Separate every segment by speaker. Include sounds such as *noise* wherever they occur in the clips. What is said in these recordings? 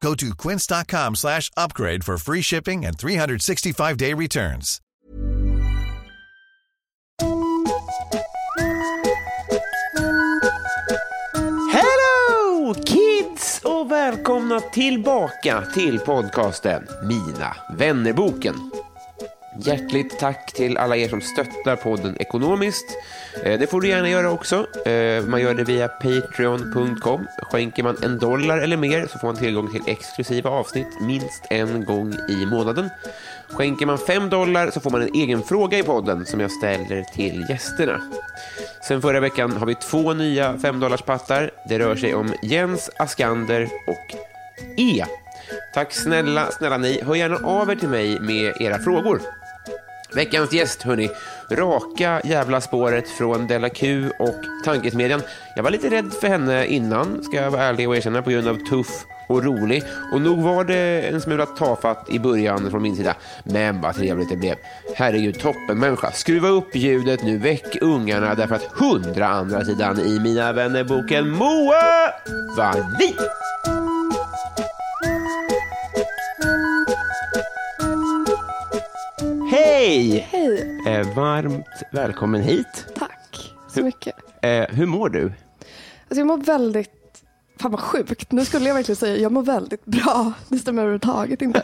Speaker 1: Go to quince.com slash upgrade for free shipping and 365-day returns.
Speaker 2: Hello kids och välkomna tillbaka till podcasten Mina vännerboken. Hjärtligt tack till alla er som stöttar podden ekonomiskt. Eh, Det får du gärna göra också. Eh, Man gör det via patreon.com. Skänker man en dollar eller mer så får man tillgång till exklusiva avsnitt minst en gång i månaden. Skänker man fem dollar så får man en egen fråga i podden som jag ställer till gästerna. Sen förra veckan har vi två nya femdollarspattar. Det rör sig om Jens Askander och E. Tack snälla, snälla ni. Hör gärna av er till mig med era frågor. Veckans gäst, hörni. Raka jävla spåret från Della Q och Tankesmedjan. Jag var lite rädd för henne innan, ska jag vara ärlig och erkänna, på grund av tuff och rolig. Och nog var det en smula tafatt i början från min sida. Men vad trevligt det blev. Herregud, toppen människa. Skruva upp ljudet nu, väck ungarna, därför att hundra andra sidan i Mina vänner-boken Moa Wallin. Hej!
Speaker 3: Hej,
Speaker 2: Eh, varmt välkommen hit.
Speaker 3: tack så mycket.
Speaker 2: Eh, hur mår du?
Speaker 3: Alltså jag mår väldigt, fan vad sjukt, nu skulle jag verkligen säga jag mår väldigt bra. Det stämmer
Speaker 2: *laughs*
Speaker 3: överhuvudtaget inte.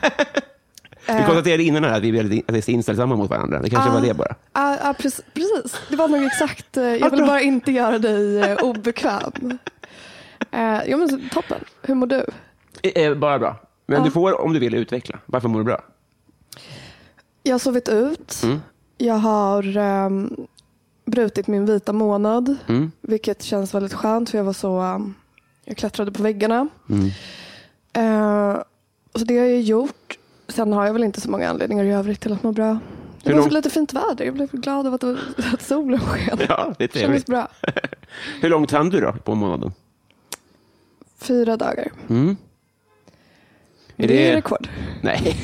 Speaker 2: Vi konstaterade innan här att vi är väldigt att vi är inställsamma mot varandra. Det kanske
Speaker 3: Ah.
Speaker 2: var det bara.
Speaker 3: Eh. Ja, ja, precis, precis. Det var nog exakt, eh, jag vill bara inte göra dig eh, obekväm. Eh, Jo men så- toppen, hur mår du?
Speaker 2: Eh, eh, bara bra. Men
Speaker 3: Ja.
Speaker 2: du får om du vill utveckla. Varför mår du bra?
Speaker 3: Jag har sovit ut,
Speaker 2: Mm.
Speaker 3: jag har ehm, brutit min vita månad,
Speaker 2: Mm.
Speaker 3: vilket känns väldigt skönt för jag var så, ehm, jag klättrade på väggarna.
Speaker 2: Mm.
Speaker 3: Eh, så det har jag gjort. Sen har jag väl inte så många anledningar i övrigt till att må bra.
Speaker 2: Hur
Speaker 3: Det var så
Speaker 2: lång-
Speaker 3: lite fint väder. Jag blev glad av att, det var- att solen sken.
Speaker 2: *laughs* Ja, det är
Speaker 3: Det kändes
Speaker 2: trevligt.
Speaker 3: bra.
Speaker 2: Hur långt hann du då på månaden?
Speaker 3: Fyra dagar.
Speaker 2: Är
Speaker 3: Är det...
Speaker 2: det-
Speaker 3: är rekord. *laughs*
Speaker 2: Nej.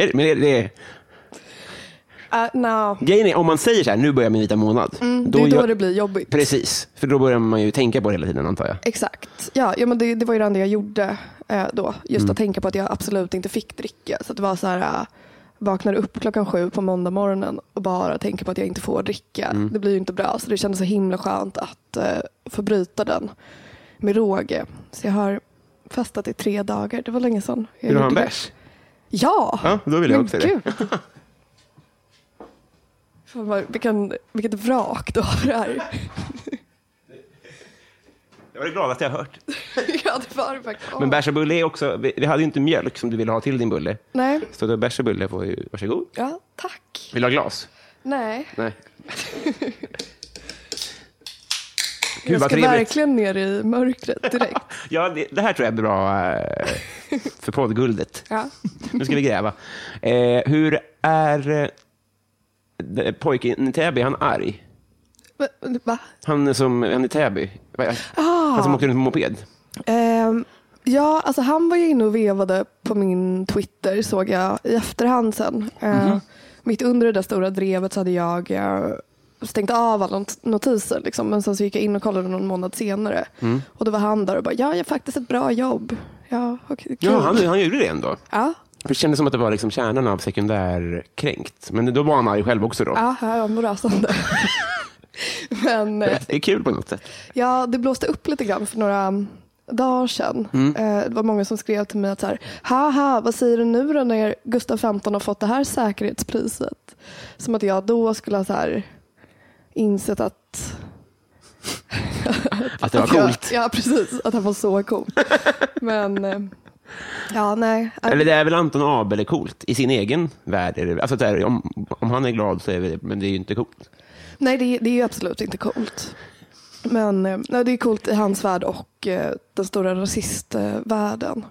Speaker 2: Är det- Men det, det, är-
Speaker 3: Uh, no.
Speaker 2: grejen är, om man säger så här, nu börjar min vita månad.
Speaker 3: mm, det är då
Speaker 2: gör-
Speaker 3: det blir jobbigt.
Speaker 2: Precis, för då börjar man ju tänka på det hela tiden antar jag.
Speaker 3: Exakt. Ja, ja men det, det var ju det enda jag gjorde eh, då. Just
Speaker 2: Mm.
Speaker 3: att tänka på att jag absolut inte fick dricka. Så att det var så här, eh, vaknade upp klockan sju på måndag morgonen och bara tänker på att jag inte får dricka.
Speaker 2: Mm.
Speaker 3: Det blir ju inte bra. Så det kändes så himla skönt att eh, få bryta den med råge. Så jag har festat i tre dagar. Det var länge sedan. jag
Speaker 2: Vill du ha en
Speaker 3: gjorde det.
Speaker 2: bärs?
Speaker 3: Ja!
Speaker 2: Ja, då vill jag
Speaker 3: Men
Speaker 2: också det.
Speaker 3: gud. *laughs* Fan vad, vilken, vilket vrak du har här. *laughs*
Speaker 2: Jag var glad att jag har hört.
Speaker 3: ja, det var det faktiskt.
Speaker 2: Men bärs och bulle är också, vi, vi hade ju inte mjölk som du ville ha till din bulle.
Speaker 3: Nej.
Speaker 2: Så då bärs och bulle får ju, varsågod.
Speaker 3: Ja, tack.
Speaker 2: Vill du ha glas?
Speaker 3: Nej. *laughs*
Speaker 2: Nej. Gud
Speaker 3: jag
Speaker 2: vad
Speaker 3: ska
Speaker 2: trevligt.
Speaker 3: verkligen ner i
Speaker 2: *laughs*
Speaker 3: mörkret direkt.
Speaker 2: Ja, det, det här tror jag är bra eh, för poddguldet.
Speaker 3: Ja.
Speaker 2: Nu ska vi gräva. Eh, hur är eh, det- pojken i Täby? Han arg?
Speaker 3: Men, Va? Ah!
Speaker 2: Han är som, han i Täby? Vad är- Han som åkte runt på moped?
Speaker 3: Ehm, ja, alltså han var ju inne och vevade på min Twitter såg jag i efterhand sen. Ehm,
Speaker 2: Mhm.
Speaker 3: Mitt under det där stora drevet så hade jag eh, stängt av alla not- notiser. Liksom. Men sen så gick jag in och kollade någon månad senare.
Speaker 2: Mm.
Speaker 3: Och då var han där och bara, jag gör faktiskt ett bra jobb. Ja, okej. kul.
Speaker 2: Ja, han, han gjorde det ändå.
Speaker 3: ja,
Speaker 2: För det kändes som att det var liksom kärnan av sekundärkränkt. Men då var han arg själv också. Då.
Speaker 3: ja, här var *laughs* morasande. Men eh,
Speaker 2: Det är kul på något sätt.
Speaker 3: Ja, det blåste upp lite grann för några dagar sedan.
Speaker 2: Mm.
Speaker 3: Eh, det var många som skrev till mig att så här, haha, vad säger du nu då när Gustav 15 har fått det här säkerhetspriset? Som att jag då skulle ha så här insett att
Speaker 2: Att det var
Speaker 3: Ja,
Speaker 2: coolt.
Speaker 3: Ja, precis. Att han var så cool.
Speaker 2: *laughs*
Speaker 3: Men eh, ja, nej.
Speaker 2: Eller det är väl Anton Abel är coolt i sin egen värld. Är det, alltså, så här, om, om han är glad så är det, men det är ju inte coolt.
Speaker 3: Nej, det, det är ju absolut inte coolt. Men eh, nej, det är coolt i hans värld och eh, den stora rasistvärlden.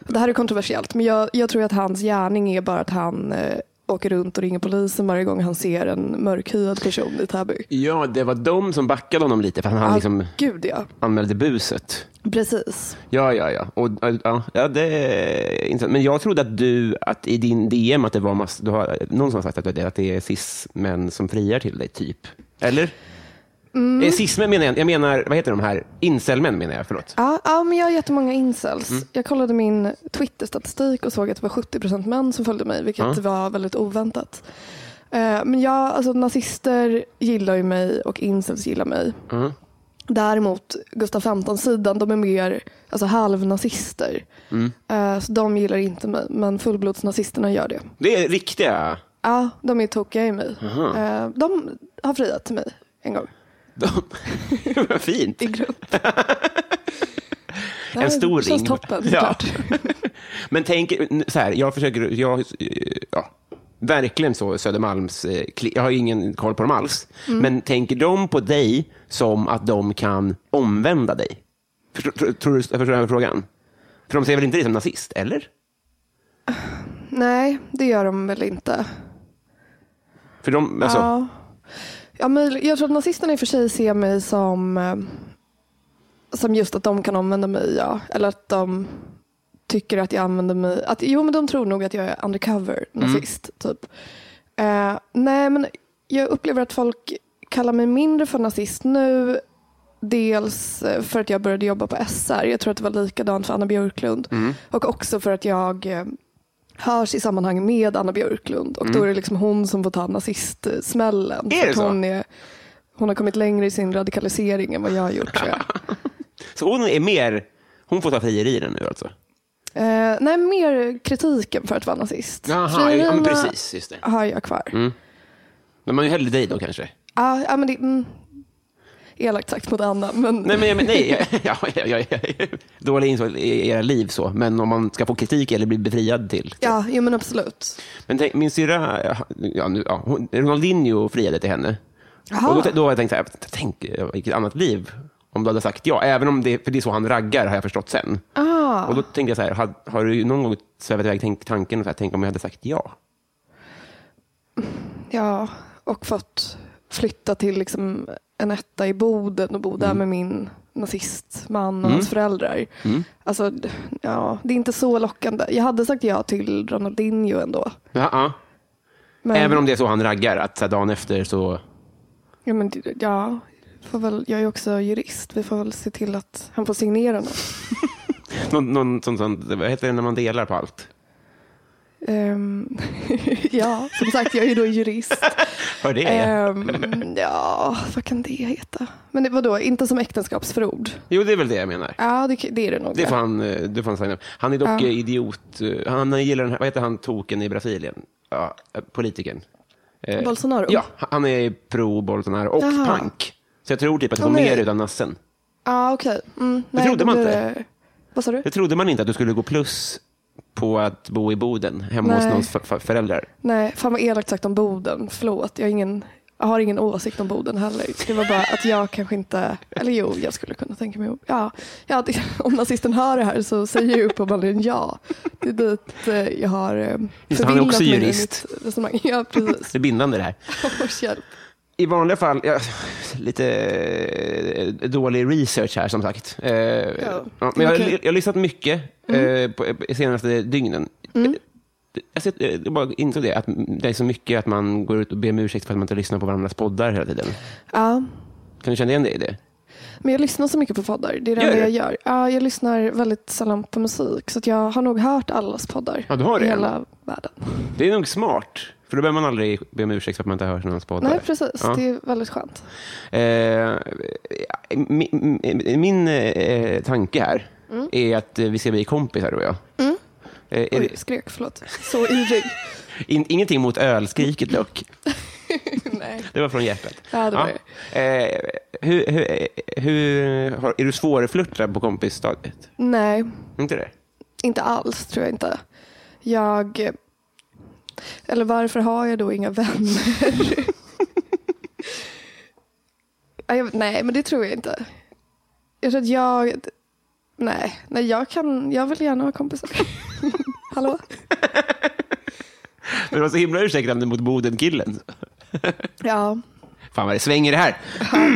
Speaker 3: Det här är kontroversiellt, men jag, jag tror att hans gärning är bara att han eh, åker runt och ringer polisen varje gång han ser en mörkhyad person i Täby.
Speaker 2: Ja, det var de som backade honom lite för att han
Speaker 3: Ah,
Speaker 2: liksom
Speaker 3: Gud ja,
Speaker 2: anmälde buset.
Speaker 3: precis.
Speaker 2: Ja, ja, ja. Och, ja, ja det är intressant. Men jag trodde att du, att i din DM, att det var mass, du har, någon som har sagt att det, att det är cis-män som friar till dig, typ. Eller? Eh, Cis-män menar jag, jag menar, vad heter de här, incel-män menar jag, förlåt.
Speaker 3: Ja, ja, men jag har jättemånga incels.
Speaker 2: Mm.
Speaker 3: Jag kollade min Twitter-statistik och såg att det var 70% män som följde mig, vilket var väldigt oväntat. Eh, Men jag, alltså nazister gillar ju mig och incels gillar mig.
Speaker 2: Mm.
Speaker 3: Däremot Gustav 15-sidan, de är mer alltså, halvnazister.
Speaker 2: Mm.
Speaker 3: Eh, Så de gillar inte mig, men fullblodsnazisterna gör det.
Speaker 2: Det är riktiga,
Speaker 3: Ja, de är tokiga i mig. Eh, De har friat till mig en gång.
Speaker 2: de, *laughs* vad fint.
Speaker 3: I grupp.
Speaker 2: *laughs* En stor
Speaker 3: Det känns
Speaker 2: ring.
Speaker 3: toppen
Speaker 2: Ja.
Speaker 3: såklart.
Speaker 2: *laughs* Men tänk, så här, jag försöker, jag, ja, verkligen så Södermalms, eh, kli- jag har ju ingen koll på dem alls,
Speaker 3: Mm.
Speaker 2: men tänker de på dig som att de kan omvända dig? Förstår, tror- tror du, förstår du den frågan? För de ser väl inte dig som nazist, eller?
Speaker 3: Nej, det gör de väl inte.
Speaker 2: För de, alltså,
Speaker 3: Ja. Ja, men jag tror att nazisterna i och för sig ser mig som, eh, som just att de kan använda mig. Ja. Eller att de tycker att jag använder mig. Att, jo, men de tror nog att jag är undercover nazist. Typ. Eh, nej, men jag upplever att folk kallar mig mindre för nazist nu. Dels eh, för att jag började jobba på SR. Jag tror att det var likadant för Anna Björklund.
Speaker 2: Mm.
Speaker 3: Och också för att jag eh, hörs i sammanhang med Anna Björklund. Och då är det liksom hon som får ta nazistsmällen.
Speaker 2: Mm. Är
Speaker 3: För
Speaker 2: det
Speaker 3: att
Speaker 2: så?
Speaker 3: Hon, är, hon har kommit längre i sin radikalisering än vad jag har gjort
Speaker 2: *laughs*
Speaker 3: tror jag.
Speaker 2: Så hon är mer, hon får ta frierier nu alltså?
Speaker 3: Eh, nej, mer kritiken för att vara nazist.
Speaker 2: Jaha, ja, men
Speaker 3: Frierna
Speaker 2: precis, just det.
Speaker 3: har jag kvar.
Speaker 2: Men man är ju hellre dig då kanske?
Speaker 3: Ah, ja, men det, mm, elakt sagt mot Anna, men
Speaker 2: Nej, men, jag- men, nej *laughs* ja, ja, ja, ja, dålig insåg i era liv så, men om man ska få kritik eller bli befriad till?
Speaker 3: *laughs* ja, jo, men absolut.
Speaker 2: Men tänk, min syrra, ja, nu, ja, hon, Ronaldinho friade till henne.
Speaker 3: Jaha.
Speaker 2: Och då, då har jag tänkt så här, tänk eh, vilket annat liv om du hade sagt ja, även om det, för det är så han raggar har jag förstått sen. Och
Speaker 3: Ah,
Speaker 2: då tänkte jag så här, har, har du någon gång svävat iväg tänkt tanken, och så här, tänk om jag hade sagt ja?
Speaker 3: Ja, och fått flytta till liksom en etta i Boden och bo där
Speaker 2: Mm.
Speaker 3: med min nazistman och hans föräldrar.
Speaker 2: Mm.
Speaker 3: Alltså, d- ja, det är inte så lockande. Jag hade sagt ja till Ronaldinho ändå.
Speaker 2: Ja, ja.
Speaker 3: Men,
Speaker 2: Även om det är så han raggar, att så här, dagen efter så,
Speaker 3: ja, men, det- ja, får väl, jag är också jurist. Vi får väl se till att han får signera något.
Speaker 2: någon, någon sån, sån, vad heter det när man delar på allt?
Speaker 3: Ehm, *laughs* ja, som sagt, jag är ju då jurist.
Speaker 2: Hör det?
Speaker 3: Ehm, *laughs* ja, vad kan det heta? Men det, vadå, inte som äktenskapsförord?
Speaker 2: Jo, det är väl det jag menar.
Speaker 3: Ja, det, det är det nog.
Speaker 2: Det får han, eh, det får han signa upp. Han är dock eh, idiot. eh, Han gillar den här, vad heter han, token i Brasilien? Ja, eh, politikern. Eh,
Speaker 3: Bolsonaro?
Speaker 2: Ja, han är pro Bolsonaro och
Speaker 3: Jaha.
Speaker 2: punk. Så jag tror typ att han
Speaker 3: Ja,
Speaker 2: får
Speaker 3: men-
Speaker 2: mer utan nassen.
Speaker 3: Ja, okej. Mm, nej,
Speaker 2: trodde
Speaker 3: då
Speaker 2: man
Speaker 3: blir
Speaker 2: inte.
Speaker 3: det- Vad sa du?
Speaker 2: Det trodde man inte att du skulle gå plus på att bo i Boden, hemma hos
Speaker 3: Nej.
Speaker 2: någons fa- fa- föräldrar.
Speaker 3: Nej, fan vad elakt sagt om Boden. Förlåt, jag har ingen, jag har ingen åsikt om Boden heller. Det var bara att jag kanske inte, eller jo, jag skulle kunna tänka mig om. Ja, ja, det, *laughs* om nazisten hör det här så säger jag uppenbarligen ja. Det är dit eh, jag har eh,
Speaker 2: Just det, han är också
Speaker 3: mig i
Speaker 2: jurist.
Speaker 3: mitt resonemang. Ja,
Speaker 2: *laughs*
Speaker 3: precis.
Speaker 2: Det är bindande det här.
Speaker 3: Åh, hjälp.
Speaker 2: I vanliga fall, ja, lite eh, dålig research här som sagt. Eh, ja. men jag, har-
Speaker 3: okej. Mm.
Speaker 2: jag har lyssnat mycket eh, på, på senaste dygnen. Eh, Jag, ser, eh, jag bara insåg det, att det är så mycket att man går ut och ber om ursäkt för att man inte lyssnar på varandras poddar hela tiden.
Speaker 3: Ja,
Speaker 2: Kan du känna igen dig i det?
Speaker 3: men jag lyssnar så mycket på poddar. Det är det
Speaker 2: Gör
Speaker 3: enda jag
Speaker 2: du?
Speaker 3: gör. Ja, jag lyssnar väldigt sällan på musik. Så att jag har nog hört allas poddar.
Speaker 2: Ja, du har det.
Speaker 3: I hela världen.
Speaker 2: Det är nog smart, för då behöver man aldrig be om ursäkt för att man inte hörs någons poddar.
Speaker 3: Nej, precis.
Speaker 2: Ja.
Speaker 3: Det är väldigt skönt.
Speaker 2: Eh, min min eh, tanke här
Speaker 3: Mm.
Speaker 2: är att eh, vi ska bli kompisar, du och jag. Eh, är
Speaker 3: Oj,
Speaker 2: det,
Speaker 3: skrek, förlåt. Så
Speaker 2: *laughs*
Speaker 3: yvig.
Speaker 2: in, ingenting mot ölskriket dock.
Speaker 3: Nej.
Speaker 2: Det var från hjärtat.
Speaker 3: Ja, det var
Speaker 2: Eh, hur, hur, eh, hur, har, är du svårflörtad på kompisstadiet?
Speaker 3: Nej,
Speaker 2: Inte det?
Speaker 3: inte alls tror jag inte. Jag... Eller varför har jag då inga vänner? *laughs* Nej, jag- nej, men det tror jag inte. Jag tror att jag... Nej, nej jag, kan, jag vill gärna ha kompisar. *laughs* Hallå?
Speaker 2: Men det var så himla ursäktande mot Boden-killen.
Speaker 3: Ja.
Speaker 2: Fan vad det svänger det här.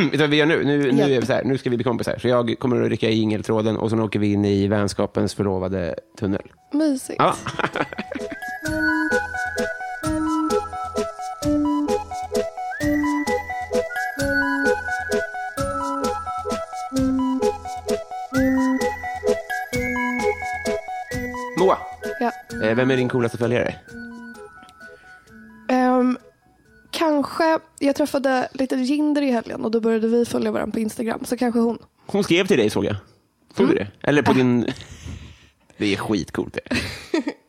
Speaker 2: *clears throat* Vet du vad vi gör nu? Nu, nu,
Speaker 3: Hjälp.
Speaker 2: är vi så här. nu ska vi bli kompisar. Så jag kommer att rycka i jingeltråden och sen åker vi in i vänskapens förlovade tunnel.
Speaker 3: Mysigt.
Speaker 2: Ja. Moa,
Speaker 3: Ja.
Speaker 2: eh, vem är din coolaste följare?
Speaker 3: Ehm, kanske, jag träffade lite Jinder i helgen och då började vi följa varandra på Instagram. Så kanske hon.
Speaker 2: Hon skrev till dig såg jag. Såg
Speaker 3: Mm.
Speaker 2: du det? Eller på din... Det är skitcoolt det.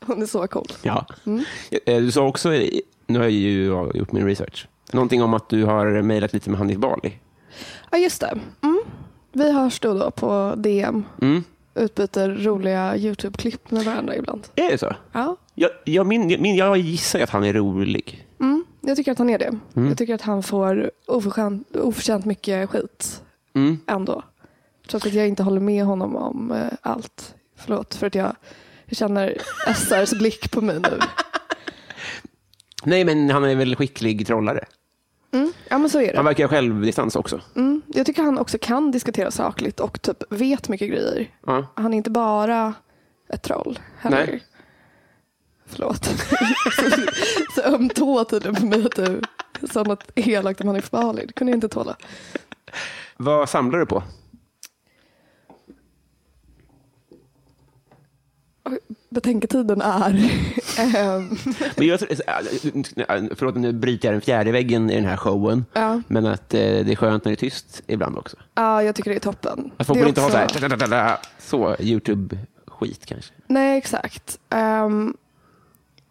Speaker 3: Hon är så cool.
Speaker 2: Ja.
Speaker 3: Mm.
Speaker 2: Eh, Du sa också, i- nu har jag ju gjort min research, någonting om att du har mejlat lite med Hanif Bali.
Speaker 3: Ja, just det. Mm. Vi hörs då och då på DM.
Speaker 2: Mm.
Speaker 3: Utbyter roliga YouTube-klipp med varandra ibland.
Speaker 2: Är det så?
Speaker 3: Ja.
Speaker 2: Jag, jag, min, min, jag gissar ju att han är rolig.
Speaker 3: Mm. Jag tycker att han är det. Jag tycker att han får oförtjänt, oförtjänt mycket skit
Speaker 2: Mm.
Speaker 3: ändå. Trots att jag inte håller med honom om eh, allt. Förlåt för att jag, jag känner SRs blick på mig nu.
Speaker 2: Nej, men han är väl skicklig trollare.
Speaker 3: *laughs* Ja, men så är det.
Speaker 2: Han verkar ha självdistans också.
Speaker 3: Mm, jag tycker han också kan diskutera sakligt och typ vet mycket grejer.
Speaker 2: Ja.
Speaker 3: Han är inte bara ett troll heller.
Speaker 2: Nej.
Speaker 3: Förlåt. *laughs* Så- så öm tå tiden på mig att du sa något elakt om Hanif Bali. Det kunde jag inte tåla.
Speaker 2: Vad samlar du på?
Speaker 3: Betänketiden är... *laughs* ehm,
Speaker 2: Men jag, tror- äh, förlåt, nu bryter jag den fjärde väggen i den här showen.
Speaker 3: Ja.
Speaker 2: Men att eh, det är skönt när det är tyst ibland också.
Speaker 3: ja, jag tycker det är toppen.
Speaker 2: Att folk
Speaker 3: det är
Speaker 2: vill inte ha
Speaker 3: också-
Speaker 2: så här, så YouTube-skit kanske.
Speaker 3: Nej, exakt. Ehm,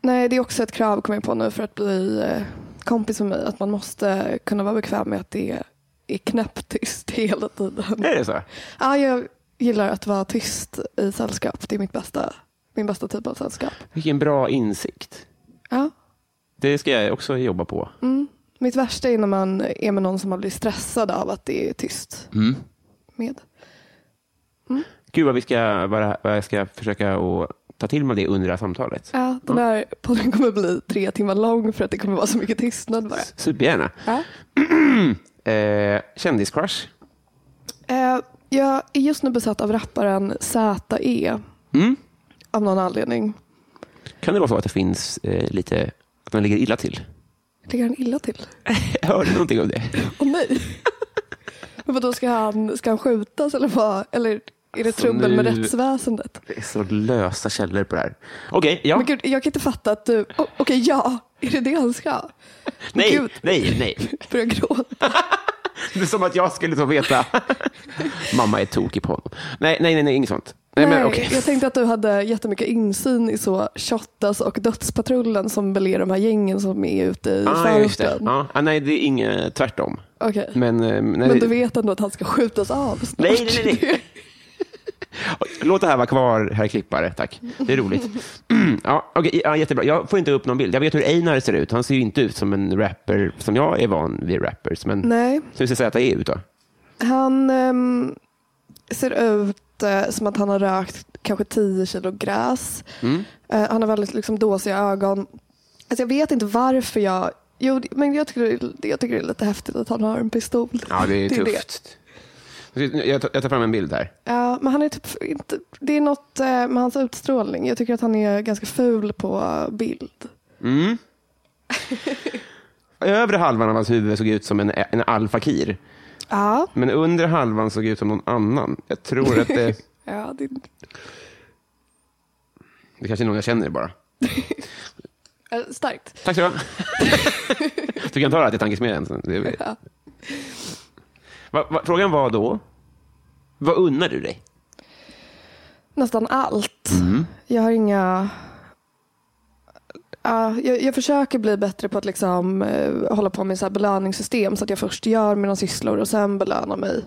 Speaker 3: nej, det är också ett krav kommer jag på nu för att bli eh, kompis med mig. Att man måste kunna vara bekväm med att det är knäpptyst *laughs* hela tiden.
Speaker 2: Mm. Är det så?
Speaker 3: Ja, jag gillar att vara tyst i sällskap. Det är mitt bästa, min bästa typ av sällskap.
Speaker 2: Vilken bra insikt.
Speaker 3: Ja.
Speaker 2: Det ska jag också jobba på.
Speaker 3: Mm. Mitt värsta är när man är med någon som man blir stressad av att det är tyst med.
Speaker 2: Gud vad, vi ska, vad vad jag ska försöka att ta till mig det under det här samtalet.
Speaker 3: Ja, den här podden kommer bli tre timmar lång för att det kommer vara så mycket tystnad bara.
Speaker 2: Supergärna.
Speaker 3: Ja.
Speaker 2: Eh, kändiscrush.
Speaker 3: Eh, jag är just nu besatt av rapparen Z.E.
Speaker 2: Mm.
Speaker 3: Av någon anledning.
Speaker 2: Kan det vara så att det finns eh, lite, att man ligger illa till? *laughs*
Speaker 3: Ligger han illa till?
Speaker 2: Hörde du någonting om det?
Speaker 3: Åh
Speaker 2: *laughs*
Speaker 3: nej! Men vadå, ska han, ska han skjutas eller vad? Eller är det
Speaker 2: Alltså,
Speaker 3: trubbel med
Speaker 2: nu-
Speaker 3: rättsväsendet?
Speaker 2: Det är så lösa källor på det här. Okej, ja.
Speaker 3: Men gud, jag kan inte fatta att du... Oh, Okej, ja. Är det det han ska?
Speaker 2: nej,
Speaker 3: gud.
Speaker 2: nej, nej.
Speaker 3: Börja gråta.
Speaker 2: *laughs* Det är som att jag skulle så *laughs* veta. Mamma är tokig på honom. Nej, nej, nej, nej inget sånt. Nej, men okej.
Speaker 3: jag tänkte att du hade jättemycket insyn i så Shottaz och Dödspatrullen som väl är de här gängen som är ute i
Speaker 2: Ah, just det.
Speaker 3: förorten.
Speaker 2: Ja, ah, nej, det är inget tvärtom.
Speaker 3: Okej.
Speaker 2: Men, eh, nej,
Speaker 3: Men du vet ändå att han ska skjutas av snart?
Speaker 2: Nej, nej, nej, nej. Ah, Låt det här vara kvar, herr klippare. Tack. Det är roligt. Mm, ja, okay, ja, jättebra. Jag får inte upp någon bild. Jag vet hur Einar ser ut. Han ser ju inte ut som en rapper som jag är van vid rappers. Men
Speaker 3: *laughs* Nej,
Speaker 2: hur ser Z.E. ut då?
Speaker 3: han ehm, ser ut eh, som att han har rökt kanske 10 kilo gräs.
Speaker 2: Mm?
Speaker 3: Eh, han har väldigt liksom, dåsiga ögon. Alltså, jag vet inte varför jag... Jo, det- men jag tycker, det- jag tycker det är lite häftigt att han har en pistol.
Speaker 2: Ja, det är
Speaker 3: det.
Speaker 2: tufft. Jag tar- jag tar fram en bild här.
Speaker 3: Ja, men han är typ inte, det är något eh, med hans utstrålning. Jag tycker att han är ganska ful på bild.
Speaker 2: Mm. Övre halvan av hans huvud såg ut som en, en alfakir.
Speaker 3: Ja,
Speaker 2: Men undre halvan såg ut som någon annan. Jag tror att det...
Speaker 3: ja det,
Speaker 2: Det kanske är någon jag känner bara.
Speaker 3: eh, starkt.
Speaker 2: Tack så du ha. Du kan ta det här till tankesmedjan. sen. Det är-
Speaker 3: Ja.
Speaker 2: Va, va, frågan var då, vad unnar du dig?
Speaker 3: Nästan allt. Jag har inga... Ja, jag, jag försöker bli bättre på att liksom, eh, hålla på med så här belöningssystem så att jag först gör mina sysslor och sen belönar mig.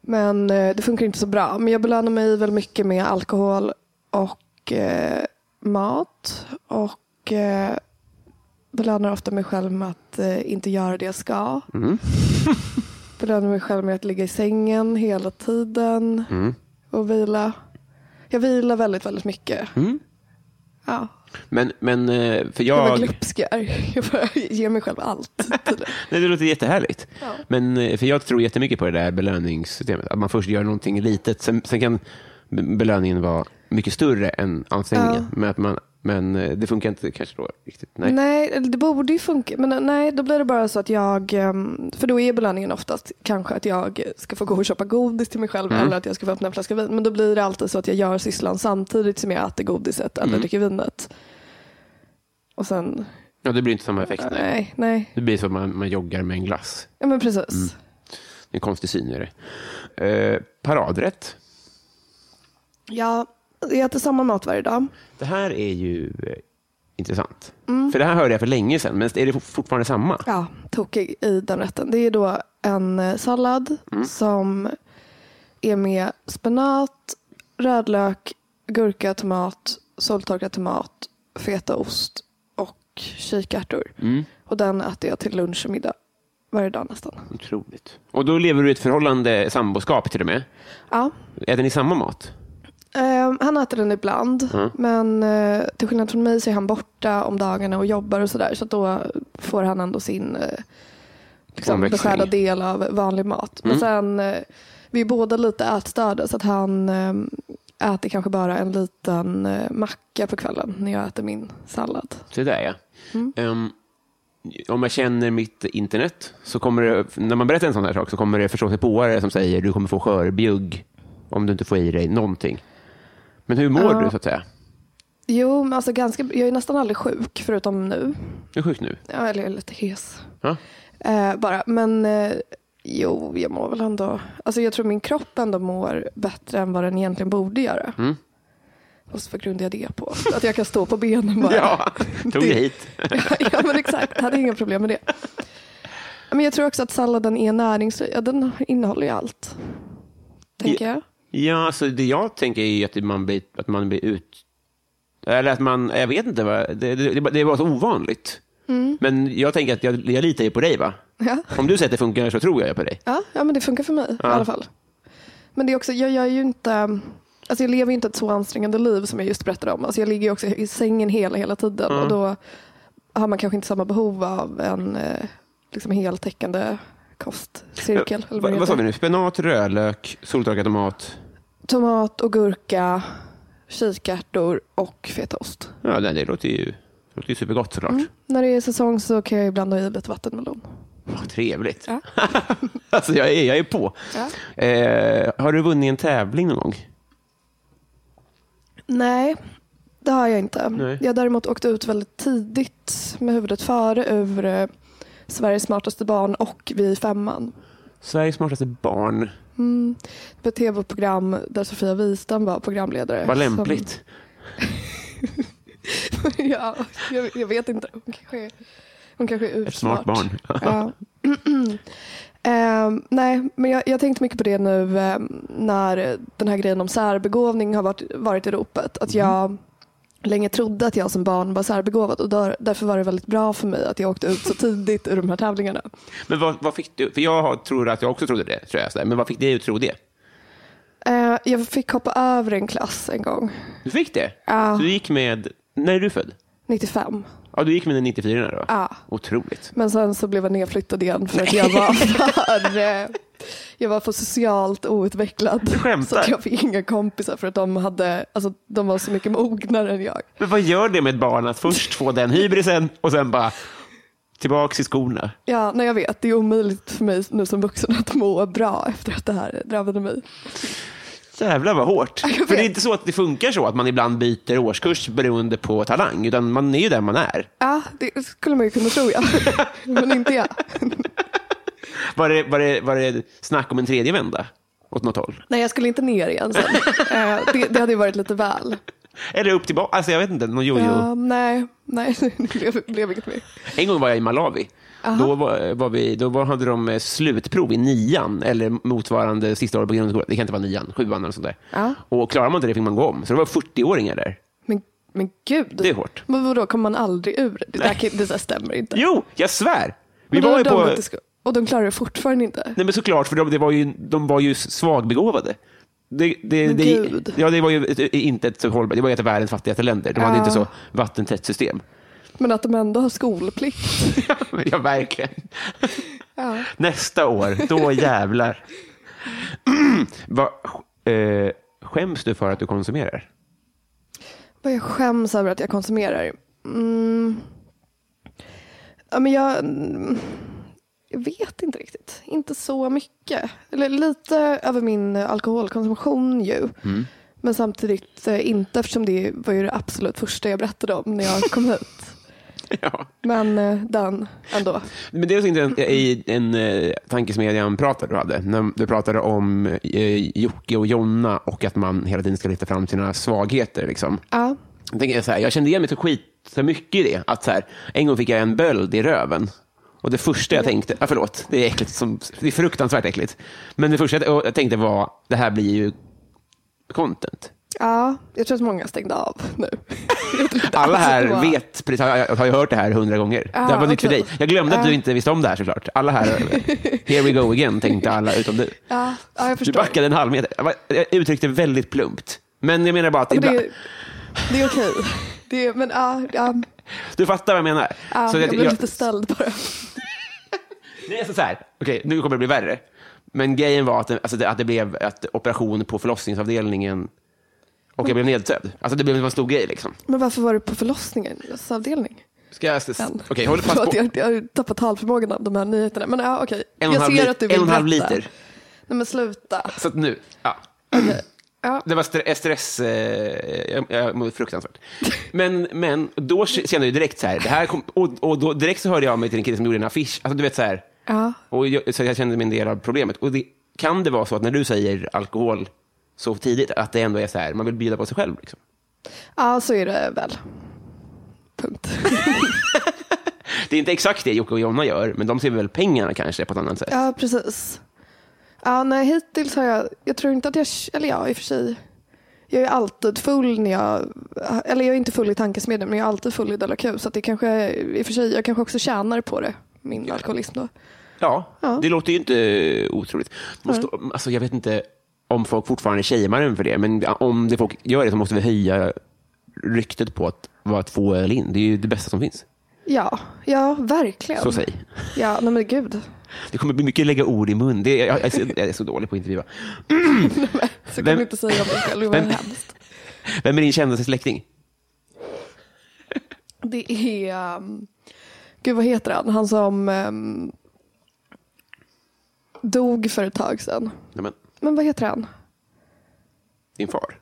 Speaker 3: Men eh, det funkar inte så bra. Men jag belönar mig väl mycket med alkohol och eh, mat. Och eh, belönar ofta mig själv med att eh, inte göra det jag ska. *laughs* belönar mig själv med att ligga i sängen hela tiden och vila. Jag vilar väldigt, väldigt mycket.
Speaker 2: Mm.
Speaker 3: Ja,
Speaker 2: Men, men eh, för
Speaker 3: jag var
Speaker 2: jag...
Speaker 3: glupsk jag är. *laughs* Jag bara ger mig själv allt. tydligen.
Speaker 2: Nej, det låter jättehärligt. Men, eh, för jag tror jättemycket på det där belöningssystemet. Att man först gör någonting litet, sen, sen kan be- belöningen vara mycket större än ansträngningen. Men, att man, men eh, det funkar inte kanske då riktigt. *laughs* Nej.
Speaker 3: Nej, eller det borde ju funka. Men eh, nej, då blir det bara så att jag, ehm, för då är belöningen oftast kanske att jag ska få gå och köpa godis till mig själv
Speaker 2: Mm.
Speaker 3: eller att jag ska få öppna en flaska vin. Men då blir det alltid så att jag gör sysslan samtidigt som jag äter godiset
Speaker 2: Mm.
Speaker 3: eller dricker vinet. Och sen,
Speaker 2: Ja, det blir inte samma effekt. Nej.
Speaker 3: nej, nej.
Speaker 2: Det blir som att man, man joggar med en glass.
Speaker 3: Ja men precis.
Speaker 2: Mm. Det är en konstig syn. Är det. Eh, paradrätt.
Speaker 3: Ja, jag äter samma mat varje dag.
Speaker 2: Det här är ju eh, intressant. För det här hörde jag för länge sedan, men är det for- fortfarande samma?
Speaker 3: Ja, tokig i den rätten. Det är då en eh, sallad som är med spenat, rödlök, gurka, tomat, soltorkad tomat, fetaost och kikärtor.
Speaker 2: Mm.
Speaker 3: Och den äter jag till lunch och middag varje dag nästan.
Speaker 2: Otroligt. Och då lever du i ett förhållande, samboskap till och med.
Speaker 3: Ja.
Speaker 2: Äter ni samma mat?
Speaker 3: Eh, han äter den ibland, men eh, till skillnad från mig så är han borta om dagarna och jobbar och sådär. Så att då får han ändå sin eh, liksom,
Speaker 2: Omväxling.
Speaker 3: beskärda del av vanlig mat. Men sen, eh, vi är båda lite ätstörda så att han eh, äter kanske bara en liten eh, macka på kvällen när jag äter min sallad.
Speaker 2: Så där ja. Ehm, om jag känner mitt internet, så kommer det, när man berättar en sån här sak så kommer det förståsigpåare som säger du kommer få skörbjugg om du inte får i dig någonting. Men hur mår
Speaker 3: Ja.
Speaker 2: du så att säga?
Speaker 3: Jo, men alltså ganska, jag är nästan aldrig sjuk förutom nu.
Speaker 2: Du är sjuk nu?
Speaker 3: Ja, Eller jag är lite hes.
Speaker 2: Ja.
Speaker 3: Eh, bara. Men eh, jo, jag mår väl ändå... Alltså jag tror min kropp ändå mår bättre än vad den egentligen borde göra.
Speaker 2: Mm.
Speaker 3: Och så vad grundar jag det på? Att jag kan stå på benen
Speaker 2: *laughs*
Speaker 3: bara.
Speaker 2: Ja, tog
Speaker 3: Det-
Speaker 2: dig hit.
Speaker 3: *laughs* ja, men exakt. Jag hade inga problem med det. Men jag tror också att salladen är näringsrik. Ja, den innehåller ju allt. Tänker jag.
Speaker 2: Ja, så det jag tänker är ju att man blir, att man blir ut... Eller att man, jag vet inte, vad, det, det, det bara- det var så ovanligt.
Speaker 3: Mm.
Speaker 2: Men jag tänker att jag, jag litar ju på dig, va?
Speaker 3: Ja.
Speaker 2: Om du säger att det funkar så tror jag ju på dig.
Speaker 3: Ja, ja men det funkar för mig i alla fall. Men det är också, jag, jag är ju inte, alltså jag lever ju inte ett så ansträngande liv som jag just berättade om. Alltså jag ligger ju också i sängen hela, hela tiden
Speaker 2: Mm.
Speaker 3: och då har man kanske inte samma behov av en eh, liksom heltäckande kostcirkel. eller
Speaker 2: Va,
Speaker 3: det
Speaker 2: vad sa
Speaker 3: heter.
Speaker 2: vi nu? Spenat, rödlök, soltorkad tomat.
Speaker 3: Tomat och gurka, kikärtor och fetaost.
Speaker 2: Ja, nej, det låter ju, det låter ju supergott såklart.
Speaker 3: När det är säsong så kan jag ibland ha i lite vattenmelon.
Speaker 2: Vad trevligt.
Speaker 3: Ja.
Speaker 2: *laughs* alltså, jag är, jag är på.
Speaker 3: Ja.
Speaker 2: Eh, har du vunnit en tävling någon gång?
Speaker 3: Nej, det har jag inte.
Speaker 2: Nej.
Speaker 3: Jag har däremot åkt ut väldigt tidigt med huvudet före ur eh, Sveriges smartaste barn och Vi i femman.
Speaker 2: Sveriges smartaste barn.
Speaker 3: Det var Ett tv-program där Sofia Wistam var programledare.
Speaker 2: Vad lämpligt.
Speaker 3: Som, *laughs* ja, jag, jag vet inte. Hon kanske, hon kanske är ursmart.
Speaker 2: Ett smart barn.
Speaker 3: Ja. *clears throat* Ehm, nej, men jag, jag tänkte mycket på det nu ehm, när den här grejen om särbegåvning har varit, varit i ropet. Att jag länge trodde att jag som barn var särbegåvad och där, därför var det väldigt bra för mig att jag åkte ut så tidigt ur de här tävlingarna.
Speaker 2: Men vad, vad fick du? För jag har- tror att jag också trodde det. Tror jag, sådär. Men vad fick dig att tro det?
Speaker 3: Eh, jag fick hoppa över en klass en gång,
Speaker 2: Du fick det?
Speaker 3: Ja.
Speaker 2: Så du gick med... När är du född?
Speaker 3: 95.
Speaker 2: Ja, du gick med den 94 då?
Speaker 3: Ja.
Speaker 2: Otroligt.
Speaker 3: Men sen så blev jag nedflyttad igen för att jag
Speaker 2: *laughs*
Speaker 3: var för, eh, jag var för socialt outvecklad. Du
Speaker 2: skämtar.
Speaker 3: Så att jag fick inga kompisar för att de, hade, alltså, de var så mycket mognare än jag.
Speaker 2: Men vad gör det med ett barn att först få den hybrisen och sen bara tillbaks i skorna?
Speaker 3: Ja, nej, jag vet. Det är omöjligt för mig nu som vuxen att må bra efter att det här drabbade mig.
Speaker 2: Jävlar vad hårt.
Speaker 3: *laughs* Jag vet.
Speaker 2: För det är inte så att det funkar så att man ibland byter årskurs beroende på talang, utan man är ju där man är.
Speaker 3: Ja, det skulle man ju kunna tro,
Speaker 2: *laughs*
Speaker 3: ja. Men inte jag.
Speaker 2: Var det, var det, var det snack om en tredje vända? åt något håll?
Speaker 3: Nej, jag skulle inte ner igen sen. Eh, det, det hade ju varit lite väl.
Speaker 2: Eller upp till ba- Alltså jag vet inte, någon jojo.
Speaker 3: Ja, nej, nej, *laughs* det blev, blev inget mer.
Speaker 2: En gång var jag i Malawi. Då, var, var vi, då var, hade de eh, slutprov i nian, eller motsvarande sista året på grundskolan. Det kan inte vara nian, sjuan eller sånt där.
Speaker 3: Ja.
Speaker 2: Och klarar man inte det fick man gå om. Så det var 40-åringar där.
Speaker 3: Men, men gud.
Speaker 2: Det är hårt.
Speaker 3: Men vadå, kommer man aldrig ur det? Det, där, kan- det där stämmer inte.
Speaker 2: Jo, jag svär! Vi
Speaker 3: Men då
Speaker 2: var
Speaker 3: har
Speaker 2: ju
Speaker 3: de
Speaker 2: på...
Speaker 3: gått i sko- Och de klarar det fortfarande inte?
Speaker 2: Nej, men såklart, för de, det var ju, de var ju svagbegåvade. Det, det,
Speaker 3: Men
Speaker 2: det,
Speaker 3: gud.
Speaker 2: ja, det var ju ett- inte ett så hållbart, det var ju ett av världens fattigaste länder. De hade
Speaker 3: Ja.
Speaker 2: inte så vattentätt system.
Speaker 3: Men att de ändå har skolplikt?
Speaker 2: *laughs* ja, verkligen. Nästa år, då jävlar. *clears throat* Va, eh, skäms du för att du konsumerar?
Speaker 3: Vad jag skäms över att jag konsumerar? Mm. Ja, men jag, mm, jag vet inte riktigt. Inte så mycket. Eller lite över min alkoholkonsumtion ju.
Speaker 2: Mm.
Speaker 3: Men samtidigt eh, inte eftersom det var ju det absolut första jag berättade om när jag
Speaker 2: *laughs*
Speaker 3: kom hit.
Speaker 2: Ja.
Speaker 3: Men eh, den ändå.
Speaker 2: Men det är inte en, i en eh, tankesmedjan-pratare du hade. När du pratade om eh, Jocke och Jonna och att man hela tiden ska lyfta fram sina svagheter. Liksom.
Speaker 3: Ja.
Speaker 2: Jag, tänker så här, jag kände igen mig så skit så mycket i det. Att så här, en gång fick jag en böld i röven. Och det första jag tänkte, ja, förlåt, det är, äckligt som, det är fruktansvärt äckligt. Men det första jag jag tänkte var, det här blir ju content.
Speaker 3: ja, jag tror att många stängde av nu. *laughs* Jag tror inte
Speaker 2: Alla
Speaker 3: alls att det var-
Speaker 2: här vet, precis, har, jag har ju hört det här hundra gånger. det här var nytt för
Speaker 3: okej.
Speaker 2: dig. Jag glömde att
Speaker 3: Ah.
Speaker 2: du inte visste om det här såklart. Alla här,
Speaker 3: *laughs*
Speaker 2: here we go again, tänkte alla utom du.
Speaker 3: Ja, ja jag
Speaker 2: Du
Speaker 3: förstår.
Speaker 2: backade en halv meter. Jag var- Jag uttryckte väldigt plumpt. Men jag menar bara att
Speaker 3: Men
Speaker 2: ibland,
Speaker 3: det, det är okej. Det är, men ja, ja,
Speaker 2: du fattar vad jag menar.
Speaker 3: ja,
Speaker 2: Så
Speaker 3: jag
Speaker 2: jag,
Speaker 3: blev
Speaker 2: jag,
Speaker 3: lite ställd bara.
Speaker 2: det är så här, okej, nu kommer det bli värre. Men grejen var att, alltså, det, att det blev ett operation på förlossningsavdelningen och jag blev nedsövd. Alltså det blev en stor grej liksom.
Speaker 3: Men varför var du på förlossningens avdelning?
Speaker 2: Ska jag... s-
Speaker 3: sen?
Speaker 2: Okej, håll pass
Speaker 3: Förlåt,
Speaker 2: på.
Speaker 3: jag, jag har ju tappat talförmågan av de här nyheterna. Men ja, okej.
Speaker 2: En och en
Speaker 3: Jag
Speaker 2: halv,
Speaker 3: ser
Speaker 2: lit-
Speaker 3: att du vill
Speaker 2: en och en halv
Speaker 3: berätta.
Speaker 2: liter.
Speaker 3: Nej men sluta.
Speaker 2: Så att nu, ja.
Speaker 3: Ja.
Speaker 2: Det var stre- stress, eh, jag, jag mådde fruktansvärt. Men, men då kände jag ju direkt så här, det här kom, och, och då direkt så hörde jag av mig till en kille som gjorde en affisch, alltså du vet så här,
Speaker 3: Ja.
Speaker 2: och jag, så jag kände mig en del av problemet. Och det, kan det vara så att när du säger alkohol så tidigt, att det ändå är så här, man vill bjuda på sig själv? Liksom.
Speaker 3: ja, så är det väl. Punkt.
Speaker 2: Det är inte exakt det Jocke och Jonna gör, men de ser väl pengarna kanske på ett annat sätt.
Speaker 3: Ja, precis. Ja, nej, hittills har jag, jag tror inte att jag, eller ja i och för sig, jag är alltid full när jag, eller jag är inte full i tankesmedjan men jag är alltid full i Della Q så att det kanske, i och för sig, jag kanske också tjänar på det, min alkoholism då.
Speaker 2: Ja,
Speaker 3: Ja.
Speaker 2: det låter ju inte eh, otroligt. Måste, alltså, jag vet inte om folk fortfarande shamear en för det, men om det folk gör det så måste vi höja ryktet på att vara två öl in. Det är ju det bästa som finns.
Speaker 3: Ja, ja verkligen.
Speaker 2: Så säg.
Speaker 3: Ja, nej men gud.
Speaker 2: Det kommer bli mycket lägga ord i mun. Det, jag, jag, är så, jag är så dålig på att intervjua.
Speaker 3: Så kan
Speaker 2: Vem-
Speaker 3: du inte säga om dig själv, det var
Speaker 2: Vem-
Speaker 3: hemskt.
Speaker 2: Vem är din kändaste släkting?
Speaker 3: Det är, um, gud vad heter han, han som um, dog för ett tag sedan.
Speaker 2: Nej, men,
Speaker 3: Men vad heter han?
Speaker 2: din far?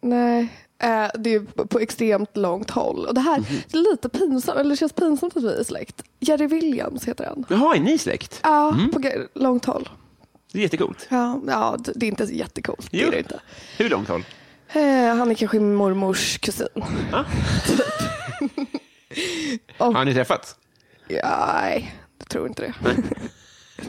Speaker 3: Nej, eh, det är på på extremt långt håll. Och det här det är lite pinsamt, eller det känns pinsamt att vi är släkt. Jerry Williams heter han.
Speaker 2: Jaha, är ni släkt?
Speaker 3: Ja, på ge- långt håll.
Speaker 2: Det är jättecoolt.
Speaker 3: Ja, ja, d- det är inte jättecoolt. Det
Speaker 2: Jo.
Speaker 3: är det inte.
Speaker 2: Hur långt håll?
Speaker 3: Eh, han är kanske min mormors kusin.
Speaker 2: Har ni träffats?
Speaker 3: Ja, nej, jag tror inte det. *laughs*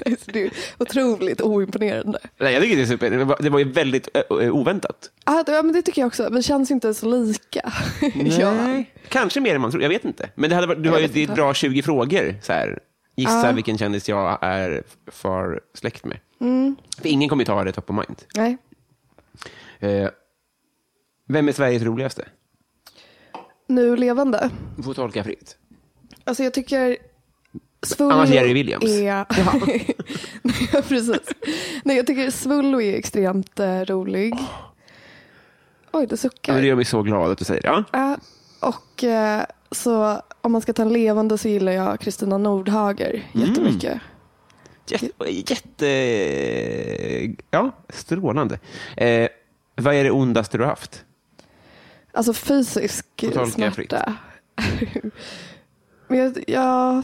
Speaker 3: Nej, så det är otroligt oimponerande.
Speaker 2: Nej, jag tycker det är super. Det var, det var ju väldigt ö, ö, oväntat.
Speaker 3: Ja, det, ja, men det tycker jag också. Vi känns ju inte så lika. *laughs* Ja.
Speaker 2: Kanske mer än man tror, jag vet inte. Men det hade varit, du har ju
Speaker 3: vet
Speaker 2: det är
Speaker 3: inte.
Speaker 2: bra 20 frågor. Så här. Gissa
Speaker 3: Ja.
Speaker 2: vilken kändis jag är för släkt med.
Speaker 3: Mm.
Speaker 2: För ingen kommer ju ta det top of mind.
Speaker 3: Nej.
Speaker 2: Eh, vem är Sveriges roligaste?
Speaker 3: Nu levande.
Speaker 2: Du får tolka fritt.
Speaker 3: Alltså jag tycker Svullo
Speaker 2: Annars Jerry Williams.
Speaker 3: Är... *laughs* Nej, ja, precis. Nej, jag tycker Svullo är extremt eh, rolig. Oj, det
Speaker 2: Ja,
Speaker 3: suckar.
Speaker 2: men det gör mig så glad att du säger det. Ja.
Speaker 3: Ja, och eh, så om man ska ta en levande så gillar jag Kristina Nordhager
Speaker 2: Mm.
Speaker 3: jättemycket.
Speaker 2: Jätte, jätte... Ja, strålande. Eh, vad är det ondaste du har haft?
Speaker 3: Alltså fysisk
Speaker 2: tolka fritt.
Speaker 3: smärta. *laughs* Men jag, jag,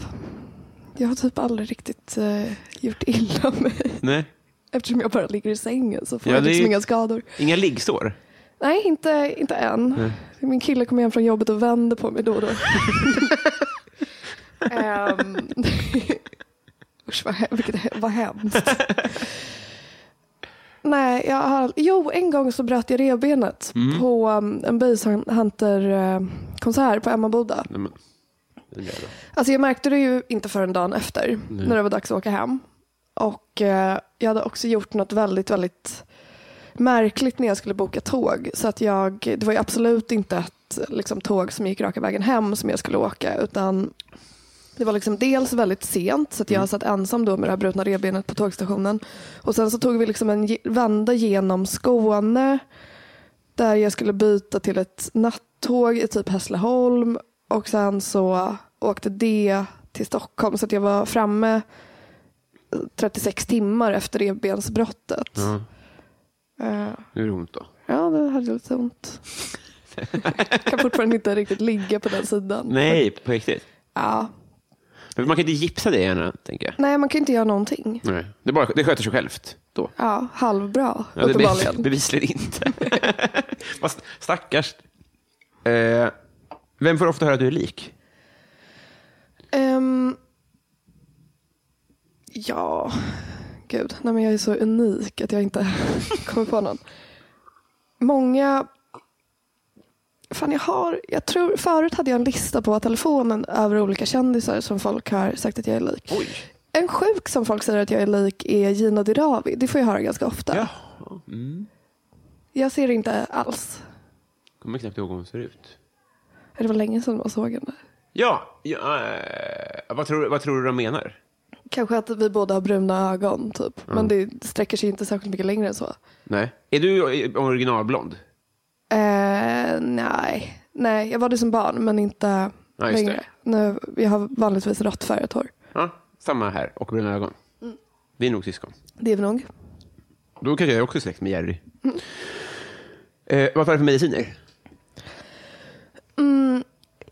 Speaker 3: jag har typ aldrig riktigt eh, gjort illa mig.
Speaker 2: Nej.
Speaker 3: Eftersom jag bara ligger i sängen så får
Speaker 2: Ja,
Speaker 3: jag
Speaker 2: det är
Speaker 3: liksom
Speaker 2: ju-
Speaker 3: inga skador.
Speaker 2: Inga liggsår?
Speaker 3: Nej, inte, inte än. Min kille kommer hem från jobbet och vänder på mig då och då. um, *laughs* usch, vad, he- vilket, he- vad hemskt. Nej, jag har, jo, en gång så bröt jag revbenet på um, en Basehunter-konsert på Emmaboda.
Speaker 2: Nej, men- det gör det.
Speaker 3: Alltså jag märkte det ju inte förrän dagen efter när det var dags att åka hem. Och eh, jag hade också gjort något väldigt, väldigt märkligt när jag skulle boka tåg. Så att jag, det var ju absolut inte ett liksom, tåg som gick raka vägen hem som jag skulle åka utan det var liksom dels väldigt sent så att jag satt ensam då med det här brutna revbenet på tågstationen. Och sen så tog vi liksom en ge- vända genom Skåne där jag skulle byta till ett nattåg i typ Hässleholm och sen så åkte det till Stockholm så att jag var framme 36 timmar efter revbensbrottet. Eh,
Speaker 2: Nu är det ont då.
Speaker 3: ja, det hade
Speaker 2: *laughs*
Speaker 3: lite ont. kan fortfarande inte riktigt ligga på den sidan.
Speaker 2: Nej, på riktigt.
Speaker 3: Ja.
Speaker 2: Men man kan inte gipsa det gärna, tänker jag.
Speaker 3: Nej, man kan ju inte göra någonting.
Speaker 2: Nej. Det, bara, det sköter sig självt då.
Speaker 3: Ja, halvbra
Speaker 2: Ja, det
Speaker 3: uppenbarligen.
Speaker 2: bevis, bevisligen inte. *laughs* Fast stackars. Eh, vem får ofta höra att du är lik?
Speaker 3: Ehm, ja, gud. Nej, men jag är så unik att jag inte *laughs* kommer på någon. Många... Fan, jag har... Jag tror, förut hade jag en lista på telefonen över olika kändisar som folk har sagt att jag är lik. En sjuk som folk säger att jag är lik är Gina Dirawi. Det får jag höra ganska ofta. Jag ser det inte alls.
Speaker 2: Kommer knappt ihåg hur hon ser ut.
Speaker 3: Det var länge sedan man såg henne.
Speaker 2: Ja, ja eh, vad, tror, vad tror du de menar?
Speaker 3: Kanske att vi båda har bruna ögon, typ. men det sträcker sig inte särskilt mycket längre än så.
Speaker 2: Nej. Är du eh, originalblond?
Speaker 3: Eh, nej. nej, jag var det som barn, men inte
Speaker 2: Ja, just
Speaker 3: längre. Nu, jag har vanligtvis rått färgat hår.
Speaker 2: Ja, samma här och bruna ögon.
Speaker 3: Mm.
Speaker 2: Vi är nog syskon.
Speaker 3: Det är vi nog.
Speaker 2: Då kanske jag är också släkt med Jerry. Eh, vad tar du för mediciner?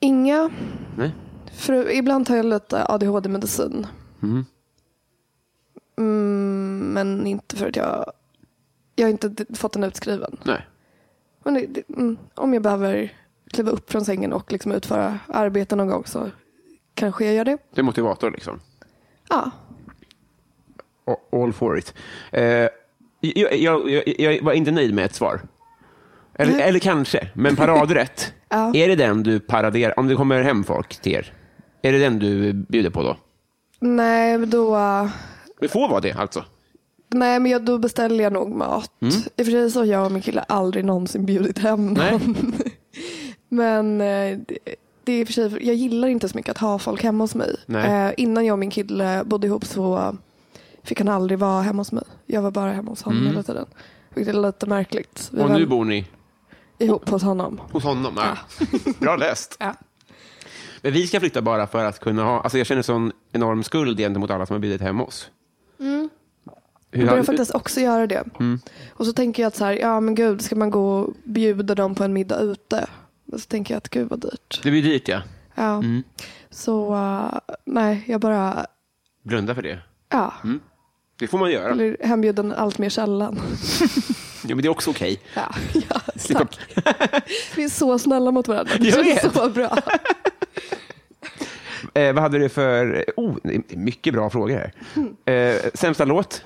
Speaker 3: Inga,
Speaker 2: Nej.
Speaker 3: för ibland tar jag lite ADHD-medicin. Mm, men inte för att jag... Jag har inte d- fått den utskriven.
Speaker 2: Nej.
Speaker 3: Men det, det, mm, om jag behöver kliva upp från sängen och liksom utföra arbete någon gång så kanske jag gör det.
Speaker 2: Du är motivator liksom.
Speaker 3: Ja,
Speaker 2: A- All for it. Eh, jag, jag, jag, jag var inte nöjd med ett svar. Eller, eller kanske, men paradrätt.
Speaker 3: Ja.
Speaker 2: Är det den du paraderar, om det kommer hem folk till er, är det den du bjuder på då?
Speaker 3: nej, men då... eh,
Speaker 2: Det får vara det alltså.
Speaker 3: Nej, men jag, då beställer jag nog mat.
Speaker 2: Mm.
Speaker 3: I och för sig så har jag och min kille aldrig någonsin bjudit hem *laughs*
Speaker 2: Nej.
Speaker 3: någon. Men eh, det, det är i och för sig, jag gillar inte så mycket att ha folk hemma hos mig.
Speaker 2: Nej.
Speaker 3: Eh, innan jag och min kille bodde ihop så fick han aldrig vara hemma hos mig. Jag var bara hemma hos honom hela tiden. Vilket är lite märkligt. Vi
Speaker 2: Mm. Och
Speaker 3: var
Speaker 2: nu bor ni
Speaker 3: ihop hos honom.
Speaker 2: hos honom. Ja. Bra läst.
Speaker 3: Ja.
Speaker 2: Men vi ska flytta bara för att kunna ha... Alltså jag känner sån enorm skuld gentemot alla som har bjudit hem oss.
Speaker 3: Jag
Speaker 2: Hur
Speaker 3: börjar
Speaker 2: har,
Speaker 3: Mm.
Speaker 2: Mm.
Speaker 3: faktiskt också göra det. Och så tänker jag att så här, ja men gud, ska man gå och bjuda dem på en middag ute? Och så tänker jag att gud vad dyrt.
Speaker 2: det blir dyrt, ja.
Speaker 3: Ja.
Speaker 2: Mm.
Speaker 3: Så eh, nej, jag bara,
Speaker 2: Blunda för det.
Speaker 3: ja,
Speaker 2: Mm. Det får man göra.
Speaker 3: blir hembjuden allt
Speaker 2: *laughs*
Speaker 3: mer sällan.
Speaker 2: Ja, men det är också okej.
Speaker 3: Ja, ja
Speaker 2: Slippa-
Speaker 3: tack. Vi är så snälla mot varandra. Det
Speaker 2: Jag
Speaker 3: känns
Speaker 2: vet.
Speaker 3: så bra. Alltså,
Speaker 2: Eh, vad hade du för... Oh, det är mycket bra frågor här.
Speaker 3: Mm.
Speaker 2: Eh, sämsta låt?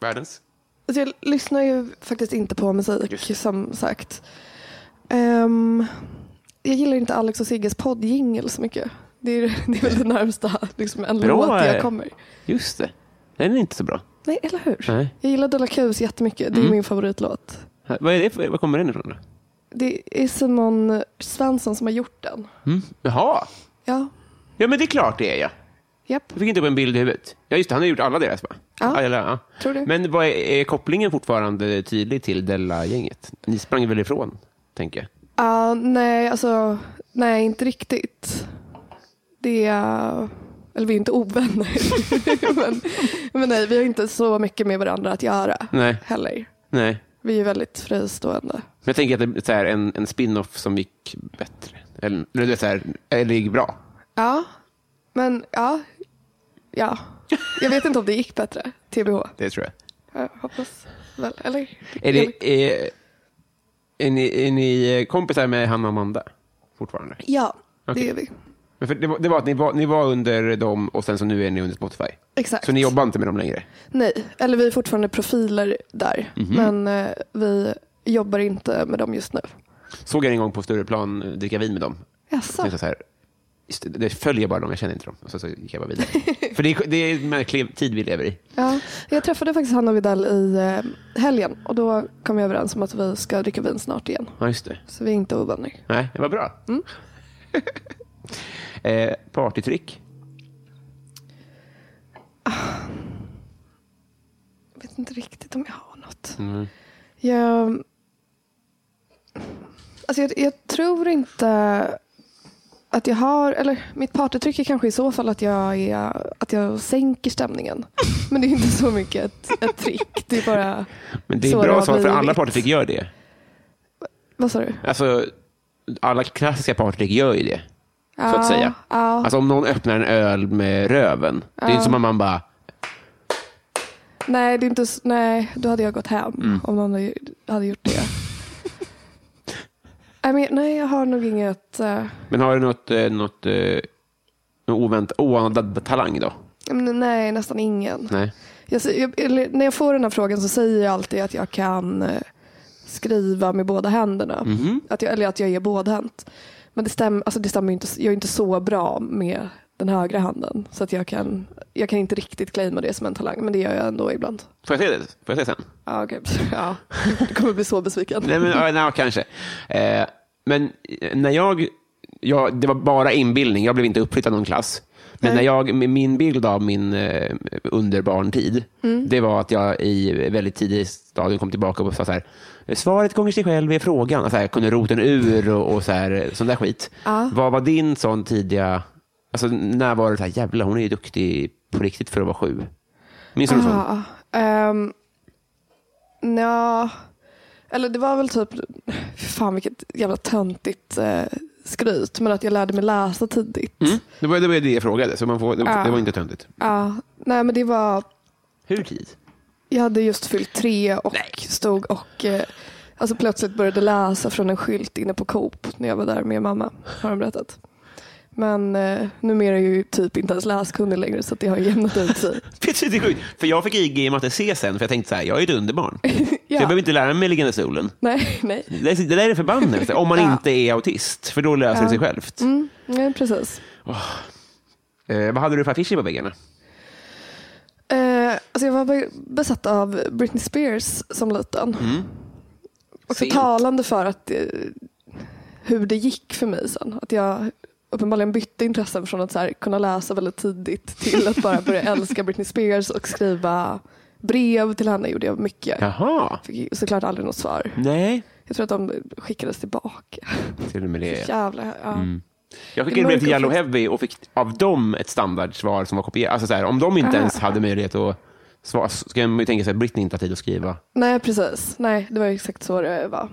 Speaker 2: Världens?
Speaker 3: Alltså, jag lyssnar ju faktiskt inte på
Speaker 2: Just
Speaker 3: musik, som sagt. Ehm, jag gillar inte Alex och Sigges poddjingel så mycket. Det är, det är väl det närmsta liksom, en
Speaker 2: Bra,
Speaker 3: låt
Speaker 2: eh.
Speaker 3: jag kommer.
Speaker 2: Just det. Den är inte så bra.
Speaker 3: Nej, eller hur?
Speaker 2: Nej. Mm.
Speaker 3: Jag gillar Della Qs jättemycket. Det är min favoritlåt.
Speaker 2: Vad, är det för, vad kommer den ifrån? Då?
Speaker 3: Det är Simon Svensson som har gjort den.
Speaker 2: Jaha.
Speaker 3: Ja,
Speaker 2: Ja, men det är klart det är jag.
Speaker 3: japp.
Speaker 2: Jag fick inte upp en bild i huvudet. Ja, just det. Han har gjort alla deras, va?
Speaker 3: Ja.
Speaker 2: eller, ja.
Speaker 3: Tror det.
Speaker 2: Men vad är, är kopplingen fortfarande tydlig till Della-gänget? Ni sprang väl ifrån, tänker jag.
Speaker 3: Ja, nej, alltså, nej, inte riktigt. Det är, eller vi är inte ovänner. *laughs* men, men nej, vi har inte så mycket med varandra att göra
Speaker 2: Nej.
Speaker 3: heller.
Speaker 2: Nej.
Speaker 3: Vi är ju väldigt fristående.
Speaker 2: Men jag tänker att det är så här, en, en spin-off som gick bättre. Eller, eller, det är så här, eller gick bra.
Speaker 3: Ja, men ja, ja. Jag vet inte om det gick bättre, TBH.
Speaker 2: Det tror jag.
Speaker 3: Jag hoppas väl. Eller?
Speaker 2: Är, det, är, Eh, är, ni, är ni kompisar med Hanna och Amanda fortfarande?
Speaker 3: Ja,
Speaker 2: Okej.
Speaker 3: det är vi.
Speaker 2: Men för det, var, det var att ni var, ni var under dem och sen så nu är ni under Spotify.
Speaker 3: Exakt.
Speaker 2: Så ni jobbar inte med dem längre?
Speaker 3: Nej, eller vi är fortfarande profiler där.
Speaker 2: Mhm.
Speaker 3: Men eh, vi jobbar inte med dem just nu.
Speaker 2: Såg jag en gång på Stureplan eh, dricka vin med dem.
Speaker 3: Jaså?
Speaker 2: Så. Så här, just det, det följer bara dem, jag känner inte dem. Och så, så gick jag bara *laughs* vidare. för det är, det är en märklig tid vi lever i.
Speaker 3: Ja, jag träffade faktiskt Hanna Vidal i eh, helgen och då kom vi överens om att vi ska dricka vin snart igen.
Speaker 2: Ja, just det. Mm.
Speaker 3: Så vi är inte ovänner.
Speaker 2: Nej, det var bra. *laughs* eh, partytrick?
Speaker 3: Jag vet inte riktigt om jag har något.
Speaker 2: Mm.
Speaker 3: Jag, alltså jag, jag tror inte att jag har, eller mitt partytryck är kanske i så fall att jag, är, att jag sänker stämningen. Men det är inte så mycket ett, ett trick. Det är bara,
Speaker 2: Men det är
Speaker 3: Så det
Speaker 2: bra
Speaker 3: har
Speaker 2: svar, för alla
Speaker 3: blivit.
Speaker 2: partytrick gör det.
Speaker 3: vad sa du?
Speaker 2: Alltså, alla klassiska partytrick gör ju det. så
Speaker 3: Ja,
Speaker 2: att säga.
Speaker 3: ja.
Speaker 2: Alltså om någon öppnar en öl med röven. Det är inte som att man bara,
Speaker 3: Nej, det är inte, s- nej, då hade jag gått hem
Speaker 2: Mm.
Speaker 3: om någon hade- hade gjort
Speaker 2: *laughs*
Speaker 3: det. Nej, men, nej, jag har nog inget. eh,
Speaker 2: men har du något, eh, något, eh, något oväntat, oanad talang då?
Speaker 3: men nej, nästan ingen.
Speaker 2: Nej.
Speaker 3: Jag, sä- jag, eller, när jag får den här frågan så säger jag alltid att jag kan eh, skriva med båda händerna.
Speaker 2: Mhm.
Speaker 3: Att jag, eller att jag är bådhänt. Men det stämmer, alltså det stämmer ju inte, s- jag är inte så bra med den högra handen. Så att jag, kan, jag kan inte riktigt claima det som en talang, men det gör jag ändå ibland.
Speaker 2: Får jag se det? Får jag se sen?
Speaker 3: Ja, okej. *laughs* ja, du kommer bli så besviken.
Speaker 2: Nej, men, ja, nej, kanske. Eh, men eh, när jag, jag, det var bara inbildning, jag blev inte uppflyttad någon klass. Men
Speaker 3: Nej.
Speaker 2: när jag, med min bild av min eh, underbarntid,
Speaker 3: Mm.
Speaker 2: det var att jag i väldigt tidig stadium kom tillbaka och sa så här, svaret gånger sig själv är frågan. Alltså, jag kunde roten ur och, och så här, sån där skit. Vad var din sån tidiga, alltså, när var det så här, jävlar hon är ju duktig på riktigt för att vara sju. Minns du någon sån?
Speaker 3: Ja. Um, nja, eller det var väl typ, fy fan vilket jävla töntigt eh, skryt, men att jag lärde mig läsa tidigt.
Speaker 2: Mm? Det, var, det var det jag frågade, så man får, det,
Speaker 3: Ja.
Speaker 2: det var inte töntigt.
Speaker 3: Ja, nej men det var,
Speaker 2: Hur tid?
Speaker 3: jag hade just fyllt tre och stod och eh, alltså plötsligt började läsa från en skylt inne på Coop när jag var där med mamma, har de berättat. Men eh, numera är jag ju typ inte ens läskunnig längre så att det har jämnat ut sig.
Speaker 2: Precis, det är sjukt. För jag fick IG i matte C sen, för jag tänkte så här, jag är ett underbarn. Så *laughs* jag behöver inte lära mig liggande solen.
Speaker 3: Nej, nej.
Speaker 2: Det där- det där är
Speaker 3: *laughs*
Speaker 2: förbannelse, om man
Speaker 3: Ja.
Speaker 2: inte är autist, för då löser det sig självt.
Speaker 3: Mm, nej, precis.
Speaker 2: Eh, vad hade du för affischer på väggarna?
Speaker 3: Eh, alltså jag var be- besatt av Britney Spears som liten. Och så
Speaker 2: Sent.
Speaker 3: talande för att eh, hur det gick för mig sen. Att jag uppenbarligen bytte intressen från att så här, kunna läsa väldigt tidigt till att bara börja älska Britney Spears och skriva brev till henne gjorde jag mycket.
Speaker 2: Jaha,
Speaker 3: Fick ju såklart aldrig något svar.
Speaker 2: nej.
Speaker 3: Jag tror att de skickades tillbaka.
Speaker 2: Till och med det.
Speaker 3: Jävlar. Ja.
Speaker 2: Jag skickade
Speaker 3: Det
Speaker 2: brev till
Speaker 3: mörker-
Speaker 2: Yellow Heavy och fick av dem ett standardsvar som var kopierat. Alltså så här, om de inte ens hade möjlighet att svara, så ska man ju tänka sig att Britney inte har tid att skriva.
Speaker 3: Nej, precis. Nej, det var ju exakt så det var.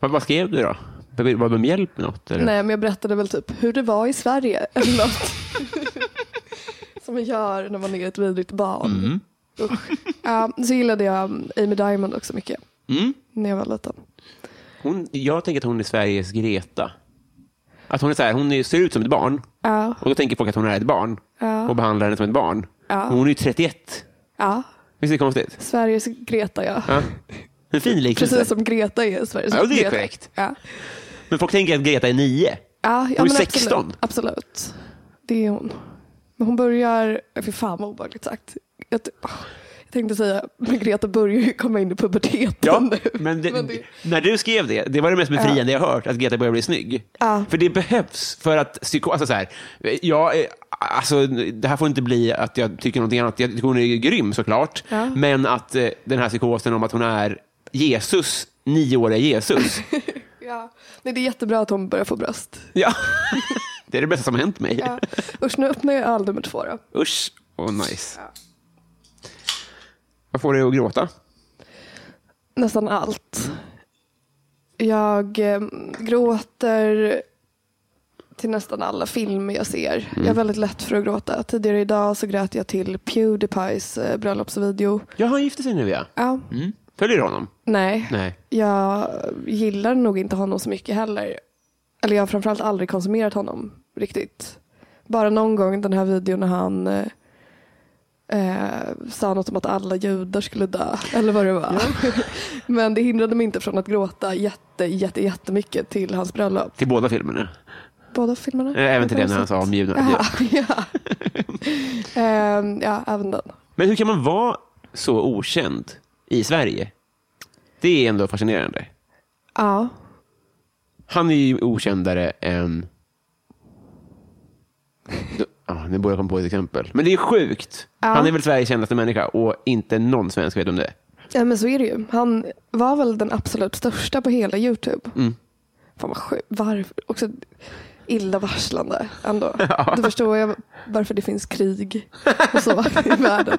Speaker 2: Vad, vad skrev du då? Be- Bad du om hjälp med något? Eller?
Speaker 3: Nej, men jag berättade väl typ hur det var i Sverige eller något. *laughs* Som man gör när man är ett vidrigt barn.
Speaker 2: Mm.
Speaker 3: Usch. Ja, så gillade jag um, Amy Diamond också mycket
Speaker 2: Mm.
Speaker 3: när jag var liten.
Speaker 2: Hon, jag tänker att hon är Sveriges Greta. Att hon, är så här, hon är- ser ut som ett barn. Och då tänker folk att hon är ett barn. Och behandlar henne som ett barn. Men hon är ju 31.
Speaker 3: Ja,
Speaker 2: Visst är det konstigt?
Speaker 3: Sveriges Greta ja.
Speaker 2: Ja. En fin liknelse.
Speaker 3: Precis som Greta är Sveriges
Speaker 2: Ja, det är
Speaker 3: Greta.
Speaker 2: korrekt.
Speaker 3: Ja.
Speaker 2: Men folk tänker att Greta är 9.
Speaker 3: Ja, ja,
Speaker 2: Hon är
Speaker 3: men
Speaker 2: 16.
Speaker 3: Absolut. absolut. Det är hon. Men hon börjar, fy fan vad obehagligt sagt. Jag, t- jag tänkte säga, men Greta börjar ju komma in i puberteten nu.
Speaker 2: Men, det,
Speaker 3: Men det-
Speaker 2: när du skrev det, det var det mest befriande jag hört, att Greta börjar bli snygg. För det behövs för att psyko... Alltså, så här, jag, eh, alltså, det här får inte bli att jag tycker någonting annat. Jag tycker hon är grym såklart, men att eh, den här psykosen om att hon är Jesus, nioåriga
Speaker 3: *laughs*
Speaker 2: Jesus.
Speaker 3: Ja. Nej, det är jättebra att hon börjar få bröst.
Speaker 2: ja. Det är det bästa som har hänt mig.
Speaker 3: Ja. *laughs* Usch, nu öppnar jag öl nummer två då.
Speaker 2: Usch, och nice. Vad får dig att gråta?
Speaker 3: Nästan allt. Jag eh, gråter till nästan alla filmer jag ser. Jag är väldigt lätt för att gråta. Tidigare idag så grät jag till Pewdiepies eh, bröllopsvideo.
Speaker 2: Ja, han gifte sig nu ja. Mm.
Speaker 3: Ja,
Speaker 2: Följer du honom?
Speaker 3: nej.
Speaker 2: Nej.
Speaker 3: Jag gillar nog inte honom så mycket heller. Eller jag har framförallt aldrig konsumerat honom riktigt. Bara någon gång den här videon när han eh, eh, sa något om att alla judar skulle dö. Eller vad det var. *laughs* Men det hindrade mig inte från att gråta jätte, jätte, jättemycket till hans bröllop.
Speaker 2: Till båda filmerna?
Speaker 3: Båda filmerna?
Speaker 2: Eh, Även till det när han sa om judarna.
Speaker 3: Jaha, *laughs*
Speaker 2: *laughs*
Speaker 3: ja. Ehm, ja, även den.
Speaker 2: Men hur kan man vara så okänd i Sverige? Det är ändå fascinerande.
Speaker 3: Ja,
Speaker 2: Han är ju okändare än... Ja, nu borde jag komma på ett exempel. Men det är sjukt. Han är väl Sveriges kändaste människa och inte någon svensk vet om det.
Speaker 3: ja men så är det ju. Han var väl den absolut största på hela Youtube.
Speaker 2: Mm.
Speaker 3: Fan vad sjukt. Varför? Också illavarslande
Speaker 2: *laughs*
Speaker 3: ändå. Då förstår jag varför det finns krig
Speaker 2: *laughs*
Speaker 3: och så i världen.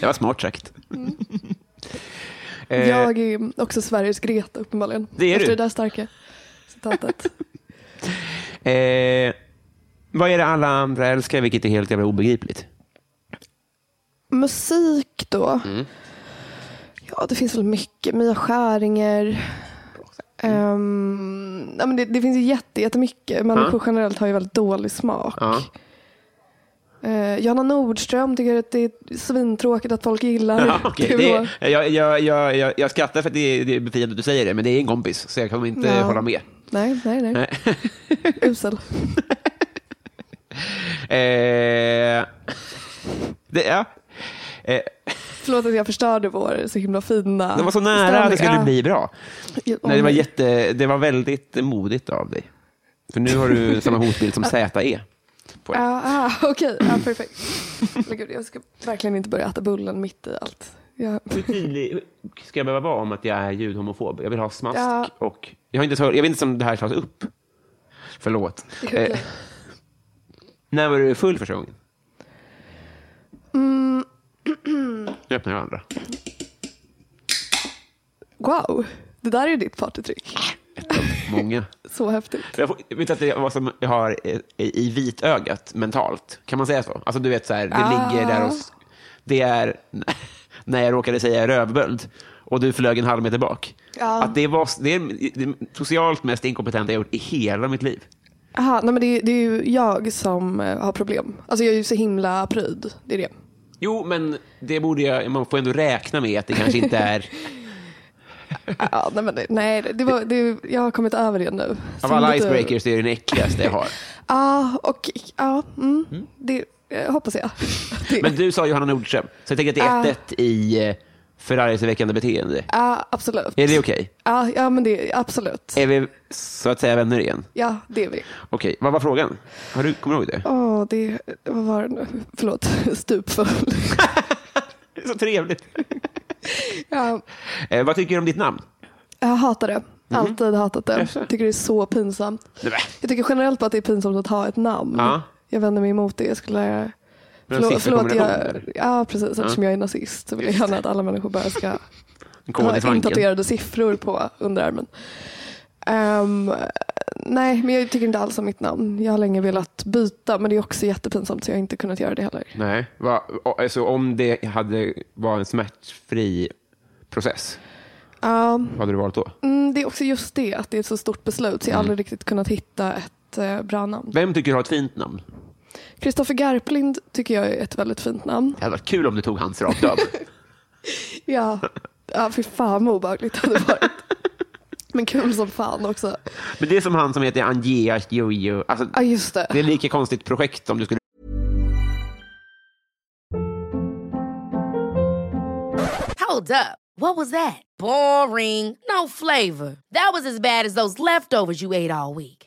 Speaker 2: Det var smart sagt. Eh,
Speaker 3: Jag är ju också Sveriges Greta uppenbarligen.
Speaker 2: Det är
Speaker 3: Efter
Speaker 2: du.
Speaker 3: det där starka citatet.
Speaker 2: eh, vad är det alla andra älskar, vilket är helt jävla obegripligt?
Speaker 3: Musik då?
Speaker 2: Mm.
Speaker 3: Ja, det finns väl mycket. Mia Skäringer. Ehm, ja, men det, det finns ju jätte, jättemycket. Människor generellt har ju väldigt dålig smak.
Speaker 2: Ja.
Speaker 3: Eh, Johanna Nordström tycker att det är svintråkigt att folk
Speaker 2: *laughs*
Speaker 3: gillar.
Speaker 2: Ja, okej.
Speaker 3: Det
Speaker 2: det
Speaker 3: var-
Speaker 2: är, jag, jag, jag, jag, jag skrattar för att det är, det är befriande att du säger det, men det är en kompis, så jag kommer inte
Speaker 3: Ja.
Speaker 2: hålla med.
Speaker 3: Nej, nej, nej. *laughs* Usel.
Speaker 2: Eh, det, ja. eh,
Speaker 3: Förlåt att jag förstörde vår så himla fina
Speaker 2: det var så nära att det skulle bli bra.
Speaker 3: Ja,
Speaker 2: Nej, det, var
Speaker 3: om-
Speaker 2: jätte, det var väldigt modigt av dig. För nu har
Speaker 3: *laughs*
Speaker 2: du samma hotbild som E. ZE. På dig.
Speaker 3: Ja, ah, *laughs* okej.
Speaker 2: *clears throat*
Speaker 3: Ja, perfekt. Men gud, jag ska verkligen inte börja äta bullen mitt i allt. Jag,
Speaker 2: Hur tydlig ska jag behöva vara om att jag är ljudhomofob? Jag vill ha smask
Speaker 3: Ja.
Speaker 2: och... Jag, har inte, så- jag vet inte om det här tas upp. Förlåt. Eh, när var du full första gången?
Speaker 3: Mm,
Speaker 2: Nu öppnar jag andra.
Speaker 3: wow, det där är ditt partytrick.
Speaker 2: Många.
Speaker 3: Så häftigt.
Speaker 2: Jag får- jag vet inte vad som jag har eh, i vitögat mentalt. Kan man säga så? Alltså du vet så här, det ligger där och... s- Det är *laughs* när jag råkade säga rövböld och du flög en halv meter bak.
Speaker 3: Ja.
Speaker 2: Att det, var, s- det är det socialt mest inkompetenta jag gjort i hela mitt liv.
Speaker 3: Aha, nej men det, är- det är ju jag som eh, har problem. Alltså jag är ju så himla pryd. Det är det.
Speaker 2: Jo, men det borde jag, man får ändå räkna med att det kanske inte är...
Speaker 3: Ja, nej, men det, nej det, det var, det, jag har kommit över det nu.
Speaker 2: Av alla icebreakers är det den äckligaste jag har.
Speaker 3: Ja, och ja, mm, det eh, hoppas jag. Det,
Speaker 2: Men du sa Johanna Nordström, så jag tänker att det är 1-1 i eh, förargelseväckande beteende.
Speaker 3: *laughs* Ja, absolut.
Speaker 2: Är det okej?
Speaker 3: Ja, ja, men det absolut.
Speaker 2: Är vi så att säga vänner igen?
Speaker 3: Ja, det är vi.
Speaker 2: Okej, vad var frågan? Har du, kommer du ihåg det?
Speaker 3: Åh, det, vad var det nu? Förlåt, *laughs* stupfull.
Speaker 2: Det är så trevligt.
Speaker 3: Ja,
Speaker 2: Eh, vad tycker du om ditt namn?
Speaker 3: jag hatar
Speaker 2: Mm.
Speaker 3: det. Alltid hatat det. Tycker det är så pinsamt.
Speaker 2: Nej, men.
Speaker 3: Jag tycker generellt bara att det är pinsamt att ha ett namn.
Speaker 2: Ja.
Speaker 3: Jag vänder mig emot det. Jag skulle...
Speaker 2: sifferkombination,
Speaker 3: jag...
Speaker 2: eller?
Speaker 3: Ja, precis. Eftersom jag är nazist så vill jag gärna att alla människor bara ska
Speaker 2: Koden i
Speaker 3: ha
Speaker 2: svanken.
Speaker 3: intatuerade siffror på underarmen. Ehm, nej, men jag tycker inte alls om mitt namn. Jag har länge velat byta, men det är också jättepinsamt så jag har inte kunnat göra det heller.
Speaker 2: Nej, va, o- alltså, om det hade var en smärtfri process,
Speaker 3: Ja,
Speaker 2: vad hade du valt då?
Speaker 3: mm, det är också just det, att det är ett så stort beslut så jag har aldrig riktigt kunnat hitta ett eh, bra namn.
Speaker 2: Vem tycker du har ett fint namn?
Speaker 3: Kristoffer Garplind tycker jag är ett väldigt fint namn.
Speaker 2: Det hade varit kul om du tog hans rakt *laughs* av.
Speaker 3: *laughs* Ja, ja fy fan vad obehagligt det hade varit. Men kul som fan också.
Speaker 2: Men det är som han som heter Angea Jojo. Alltså,
Speaker 3: Ja, just det.
Speaker 2: det är lika konstigt projekt om du skulle...
Speaker 4: Hold up. What was that? Boring. No flavor. That was as bad as those leftovers you ate all week.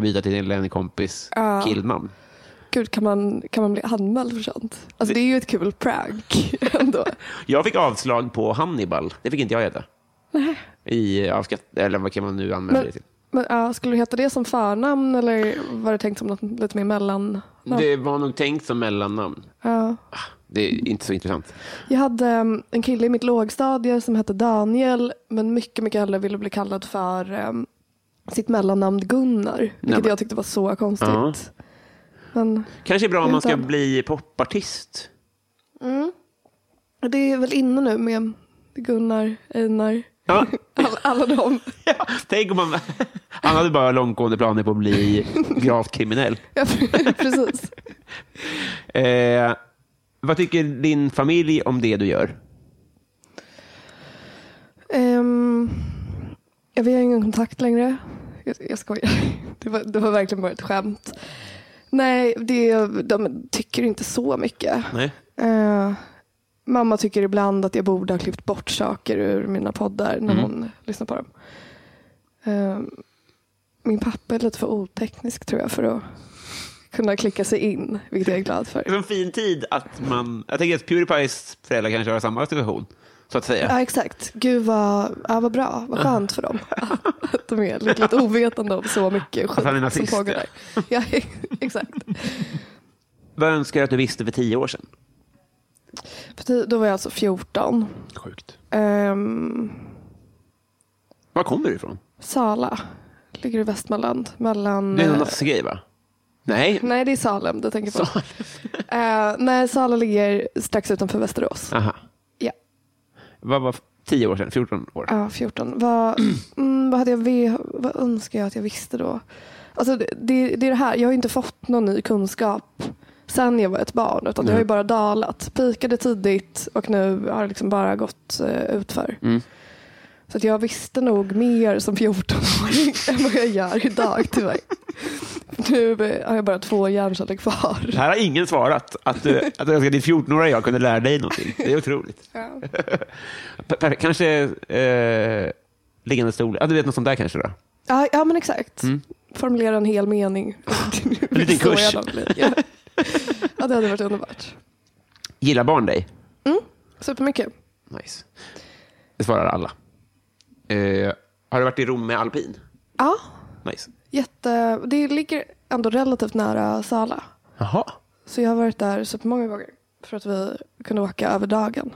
Speaker 2: byta till din länkompis
Speaker 3: Ja.
Speaker 2: killman.
Speaker 3: Gud, kan man, kan man bli anmäld för sånt? Alltså det är ju ett kul prank *laughs* ändå.
Speaker 2: Jag fick avslag på Hannibal. Det fick inte jag heta. I avskatt... Eller vad kan man nu använda
Speaker 3: Men-
Speaker 2: det till?
Speaker 3: Men, ja, skulle du heta det som förnamn eller var det tänkt som något lite mer mellan?
Speaker 2: Det var nog tänkt som mellannamn.
Speaker 3: Ja.
Speaker 2: Det är inte så intressant.
Speaker 3: Jag hade em, en kille i mitt lågstadie som hette Daniel men mycket, mycket hellre ville bli kallad för em, sitt mellannamn Gunnar. Vilket
Speaker 2: men-
Speaker 3: jag tyckte var så konstigt.
Speaker 2: Ja.
Speaker 3: Men
Speaker 2: Kanske är bra om man ska
Speaker 3: Inte.
Speaker 2: bli popartist.
Speaker 3: mm. det är väl inne nu med Gunnar, Einar,
Speaker 2: Ja.
Speaker 3: alla, alla de.
Speaker 2: Ja, tänk om *laughs* man... Han hade bara långtgående planer på att bli gravt kriminell.
Speaker 3: *laughs* Ja, precis.
Speaker 2: Eh, vad tycker din familj om det du gör?
Speaker 3: Ehm, ja, vi har ingen kontakt längre. Jag, jag skojar. Det var, det var verkligen bara ett skämt. Nej, det, de tycker inte så mycket.
Speaker 2: Nej.
Speaker 3: Eh, mamma tycker ibland att jag borde ha klippt bort saker ur mina poddar
Speaker 2: Mm.
Speaker 3: när hon lyssnar på dem. Eh, min pappa är lite för oteknisk tror jag för att kunna klicka sig in, vilket jag är glad
Speaker 2: Det är
Speaker 3: för.
Speaker 2: en fin tid att man... Jag tänker att Pewdiepies föräldrar kanske har samma situation, så att säga.
Speaker 3: Ja exakt. Gud vad, ja, vad bra, vad skönt för dem. *laughs* Att de är lite, lite ovetande om så mycket skit
Speaker 2: han är nazist,
Speaker 3: som pågår där. Ja, *laughs* exakt.
Speaker 2: Vad önskar du att du visste för tio år sedan?
Speaker 3: För ti- Då var jag alltså 14.
Speaker 2: Sjukt.
Speaker 3: Ehm,
Speaker 2: Var kommer du ifrån?
Speaker 3: Sala ligger i Västmanland. Mellan,
Speaker 2: Det är någon
Speaker 3: eh,
Speaker 2: nassegrej, va? Nej?
Speaker 3: Nej, det är Typ. Salem du tänker på. *laughs* Eh, nej, Sala ligger strax utanför Västerås.
Speaker 2: Aha.
Speaker 3: Ja,
Speaker 2: Vad var f- tio år sedan? 14 år?
Speaker 3: ja 14. *clears throat* Vad, mm, vad, hade jag, ve- vad önskar jag att jag visste då? Alltså, det, det, det är det här, jag har inte fått någon ny kunskap sen jag var ett barn. Utan det har ju bara dalat. Pikade tidigt och nu har det liksom bara gått uh, utför. Så att jag visste nog mer som 14-åring *laughs* än vad jag gör idag *laughs* tyvärr. Nu eh, har jag bara två hjärnceller kvar.
Speaker 2: Här har ingen svarat att, *laughs* du, att jag önskar att ditt 14-åriga jag kunde lära dig någonting. Det är otroligt. Per- per- Kanske eh, liggande stol. Ja, du vet något sånt där kanske då?
Speaker 3: Ja, ja men exakt. Formulera en hel
Speaker 2: *laughs*
Speaker 3: mening. en
Speaker 2: Mm. liten kurs.
Speaker 3: Ja. ja, det hade varit underbart.
Speaker 2: Gillar barn dig?
Speaker 3: Supermycket.
Speaker 2: Nice. Det svarar alla. Eh, har du varit i Rom med alpin?
Speaker 3: Ja,
Speaker 2: Nice.
Speaker 3: jätte... Det ligger ändå relativt nära Sala.
Speaker 2: Jaha.
Speaker 3: Så jag har varit där supermånga gånger för att vi kunde åka över dagen.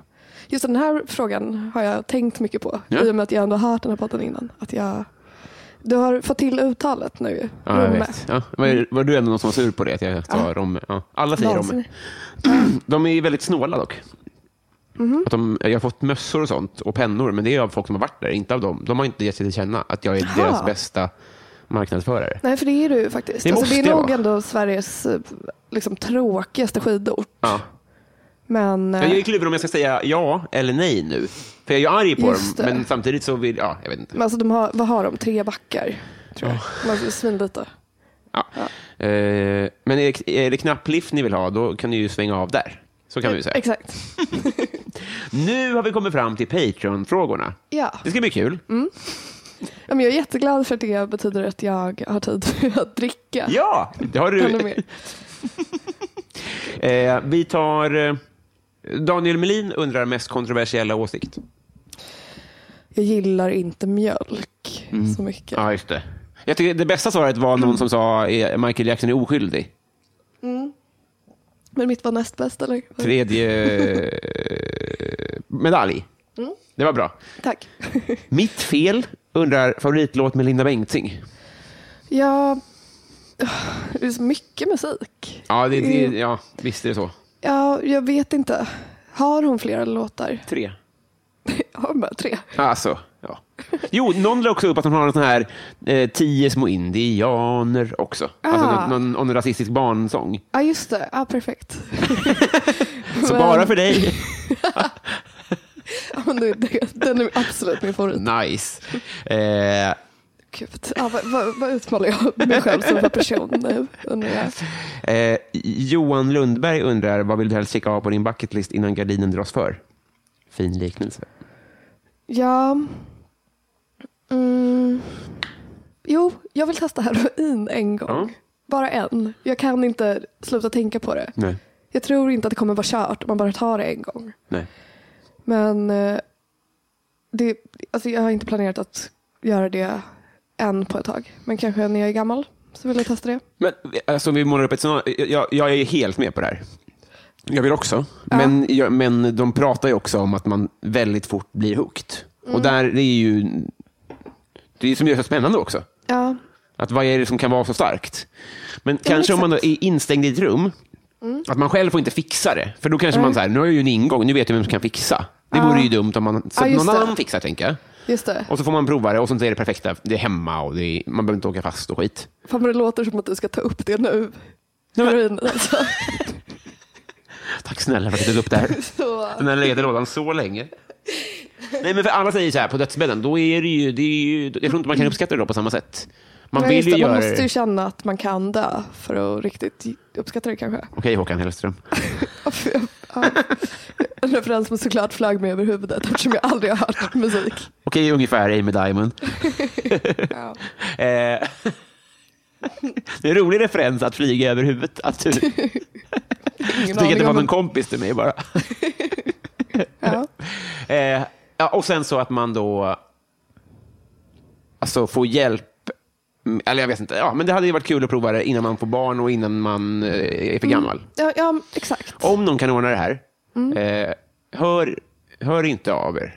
Speaker 3: Just den här frågan har jag tänkt mycket på
Speaker 2: Ja.
Speaker 3: i och med att jag ändå har hört den här podden innan. Att jag... Du har fått till uttalet nu. ju.
Speaker 2: Ja, jag
Speaker 3: Romme.
Speaker 2: vet. Ja, var, var du ändå någon som var sur på det? Att jag sa Romme? Ja. Alla säger Romme.
Speaker 3: Vansinne.
Speaker 2: De är ju väldigt snåla dock. Att de, jag har fått mössor och sånt och pennor, men det är av folk som har varit där, inte av dem. De har inte gett sig till känna att jag är
Speaker 3: Aha.
Speaker 2: deras bästa marknadsförare.
Speaker 3: Nej, för det är du ju faktiskt.
Speaker 2: Det
Speaker 3: Det, alltså, det
Speaker 2: måste
Speaker 3: är
Speaker 2: jag
Speaker 3: nog
Speaker 2: vara.
Speaker 3: ändå Sveriges eh, liksom, tråkigaste skidort.
Speaker 2: Ja.
Speaker 3: Men eh,
Speaker 2: Jag är kluven om jag ska säga ja eller nej nu. För jag är arg på
Speaker 3: Just
Speaker 2: dem,
Speaker 3: det.
Speaker 2: men samtidigt så vill jag... Jag vet inte.
Speaker 3: men alltså, de har, vad har de? Tre backar? Tror jag. De har Svinlite.
Speaker 2: Ja. Eh, men är det, är det knapplift ni vill ha, då kan ni ju svänga av där. Så kan vi ju säga.
Speaker 3: Exakt.
Speaker 2: Nu har vi kommit fram till Patreon-frågorna.
Speaker 3: Ja.
Speaker 2: Det ska bli kul.
Speaker 3: Mm. Ja, men jag är jätteglad för att det betyder att jag har tid *laughs* för att dricka.
Speaker 2: Ja, det har du.
Speaker 3: Ännu mer.
Speaker 2: *laughs* Eh, vi tar... Eh, Daniel Melin undrar mest kontroversiella åsikt.
Speaker 3: Jag gillar inte mjölk så mycket.
Speaker 2: Mm. Ja, just det. Jag tycker det bästa svaret var
Speaker 3: Mm.
Speaker 2: någon som sa eh, Michael Jackson är oskyldig.
Speaker 3: Men mitt var näst bäst eller?
Speaker 2: Tredje eh, medalj.
Speaker 3: Mm.
Speaker 2: Det var bra.
Speaker 3: Tack. *laughs*
Speaker 2: Mitt fel undrar favoritlåt med Linda Bengtzing.
Speaker 3: Ja, det är så mycket musik.
Speaker 2: Ja, det, det, ja visst är det så.
Speaker 3: Ja, jag vet inte. Har hon flera låtar?
Speaker 2: Tre.
Speaker 3: Har hon bara tre?
Speaker 2: Alltså, Ja. Jo, någon la också upp att hon har en sån här eh, tio små indianer också. Alltså
Speaker 3: Ah.
Speaker 2: någon, någon, någon rasistisk barnsång.
Speaker 3: Ja, just det. Ja, *laughs* perfekt.
Speaker 2: Så
Speaker 3: Men-
Speaker 2: bara för dig. *laughs*
Speaker 3: Ja, men *laughs* det- det- Den är absolut min favorit.
Speaker 2: Nice. Eh,
Speaker 3: Gud. Ja, vad, vad, vad utmanar jag mig själv som för person nu? undrar jag.
Speaker 2: eh, Johan Lundberg undrar, vad vill du helst checka av på din bucketlist innan gardinen dras för? Fin liknelse.
Speaker 3: Ja. Mm. Jo, jag vill testa heroin en gång.
Speaker 2: Ja.
Speaker 3: Bara en. Jag kan inte sluta tänka på det.
Speaker 2: Nej.
Speaker 3: Jag tror inte att det kommer vara kört om man bara tar det en gång.
Speaker 2: Nej.
Speaker 3: Men eh, det, alltså jag har inte planerat att göra det än på ett tag. Men kanske när jag är gammal så vill jag testa det.
Speaker 2: Men alltså, vi målar upp ett sånt, jag, jag är helt med på det här. Jag vill också. Men, jag, men de pratar ju också om att man väldigt fort blir hooked.
Speaker 3: Mm.
Speaker 2: Och där det är ju det är som gör det så spännande också.
Speaker 3: Ja,
Speaker 2: Att vad är det som kan vara så starkt? Men kanske om man då
Speaker 3: exakt. Mm.
Speaker 2: är instängd i ett rum, att man själv får inte fixa det. För då kanske man säger, nu har jag ju en ingång, nu vet jag vem som kan fixa. Det vore ju dumt om man, så
Speaker 3: Ja,
Speaker 2: att
Speaker 3: just
Speaker 2: någon
Speaker 3: det.
Speaker 2: annan fixar, tänker jag.
Speaker 3: just det.
Speaker 2: Och så får man prova det och så är det perfekta, det är hemma och det är, man behöver inte åka fast och skit.
Speaker 3: Fan vad det låter som att du ska ta upp det nu. Heroin alltså.
Speaker 2: Tack snälla för att du tog upp det
Speaker 3: *laughs*
Speaker 2: här.
Speaker 3: *laughs* Så.
Speaker 2: Den här leder lådan så länge. Nej, men för alla säger så här, på dödsbädden, då är det ju, det är ju, jag tror inte man kan uppskatta det då på samma sätt. Man
Speaker 3: Nej,
Speaker 2: vill
Speaker 3: just
Speaker 2: ju
Speaker 3: det,
Speaker 2: göra
Speaker 3: man
Speaker 2: det.
Speaker 3: måste ju känna att man kan dö för att riktigt uppskatta det kanske.
Speaker 2: Okej, Håkan Hellström.
Speaker 3: Ja. En referens som såklart flög mig över huvudet eftersom jag aldrig har hört musik.
Speaker 2: Okej, ungefär Amy Diamond.
Speaker 3: Ja.
Speaker 2: Eh, det är en rolig referens att flyga över huvudet. Att du tycker
Speaker 3: Ingen
Speaker 2: att det var
Speaker 3: aning om
Speaker 2: någon
Speaker 3: man-
Speaker 2: kompis till mig bara.
Speaker 3: ja.
Speaker 2: Eh, ja, och sen så att man då alltså får hjälp. Mm, Eller jag vet inte. Ja, men det hade ju varit kul att prova det innan man får barn och innan man eh, är
Speaker 3: Mm.
Speaker 2: för gammal.
Speaker 3: Ja, ja, exakt.
Speaker 2: Om någon kan ordna det här, eh, hör, hör inte av er.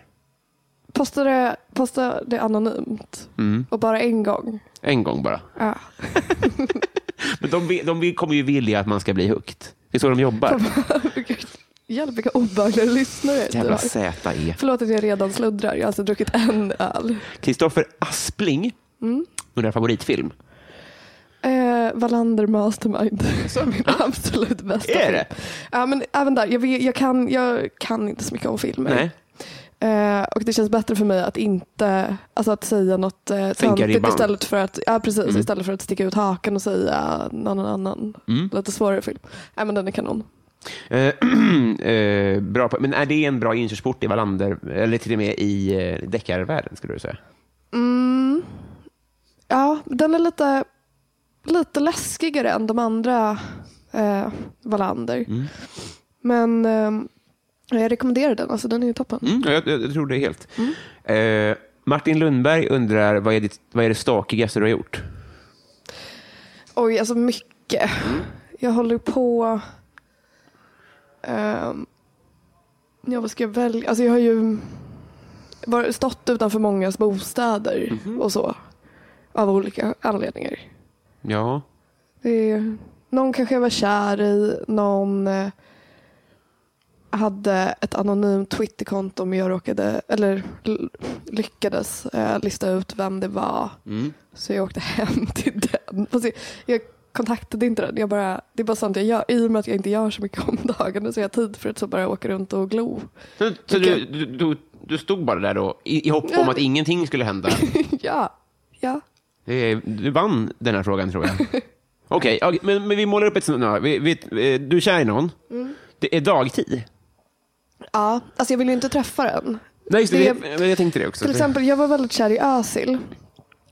Speaker 3: Posta det, posta det anonymt
Speaker 2: Mm.
Speaker 3: och bara en gång.
Speaker 2: En gång bara.
Speaker 3: Ja.
Speaker 2: Men de, vill- de vill- kommer ju vilja att man ska bli hooked. Det är så de jobbar.
Speaker 3: Gud, Hjälp vilka obehagliga lyssnare du
Speaker 2: Jävla E.
Speaker 3: har.
Speaker 2: ZE.
Speaker 3: Förlåt att jag redan sluddrar. Jag har alltså druckit en öl.
Speaker 2: Kristoffer Aspling undrar favoritfilm.
Speaker 3: Eh, Wallander Mastermind. *laughs* Så. Min absolut bästa
Speaker 2: Ah, Är
Speaker 3: film.
Speaker 2: det?
Speaker 3: Ja, men även där. Jag, vet, jag, kan, jag kan inte så mycket om filmer.
Speaker 2: Nej.
Speaker 3: Eh, och det känns bättre för mig att inte, alltså att säga något eh, töntigt
Speaker 2: ribban.
Speaker 3: istället för att, ja precis,
Speaker 2: Mm.
Speaker 3: istället för att sticka ut hakan och säga någon annan
Speaker 2: Mm.
Speaker 3: lite svårare film. Nej men den är kanon.
Speaker 2: Eh, *clears throat* eh, bra på, men är det en bra inkörsport i Wallander, eller till och med i eh, deckarvärlden, skulle du säga?
Speaker 3: Mm. Ja, den är lite, lite läskigare än de andra eh, Wallander. Men eh, jag rekommenderar den, alltså den är ju toppen.
Speaker 2: Mm, ja, jag, jag, jag tror det helt. Eh, Martin Lundberg undrar, vad är, ditt, vad är det stakigaste du har gjort?
Speaker 3: Oj, alltså mycket. Jag håller på... ehm, ja, vad ska jag välja? Alltså jag har ju var, stått utanför mångas bostäder och så. Av olika anledningar.
Speaker 2: Ja.
Speaker 3: Det är, någon kanske jag var kär i. Någon eh, hade ett anonymt Twitterkonto men jag råkade, eller l- lyckades eh, lista ut vem det var. Så jag åkte hem *laughs* till den. Fast jag, jag kontaktade inte den. Jag bara, det är bara sånt jag gör. I och med att jag inte gör så mycket om dagarna så jag har tid för att så bara åka runt och glo. *laughs*
Speaker 2: Så, så du,
Speaker 3: Vilken-
Speaker 2: du, du, du stod bara där då, i, i hopp om
Speaker 3: Ja.
Speaker 2: att ingenting skulle
Speaker 3: *laughs*
Speaker 2: hända?
Speaker 3: ja, ja.
Speaker 2: Det är- Du vann den här frågan, tror jag.
Speaker 3: *laughs*
Speaker 2: Okej, okej, men, men vi målar upp ett scenario. Vi, vi, eh, du är kär i någon.
Speaker 3: Mm.
Speaker 2: Det är dagtid.
Speaker 3: Ja, alltså jag vill ju inte träffa den.
Speaker 2: Nej, just det,
Speaker 3: Det-
Speaker 2: det, jag, jag tänkte det också.
Speaker 3: Till exempel, jag var väldigt kär i Özil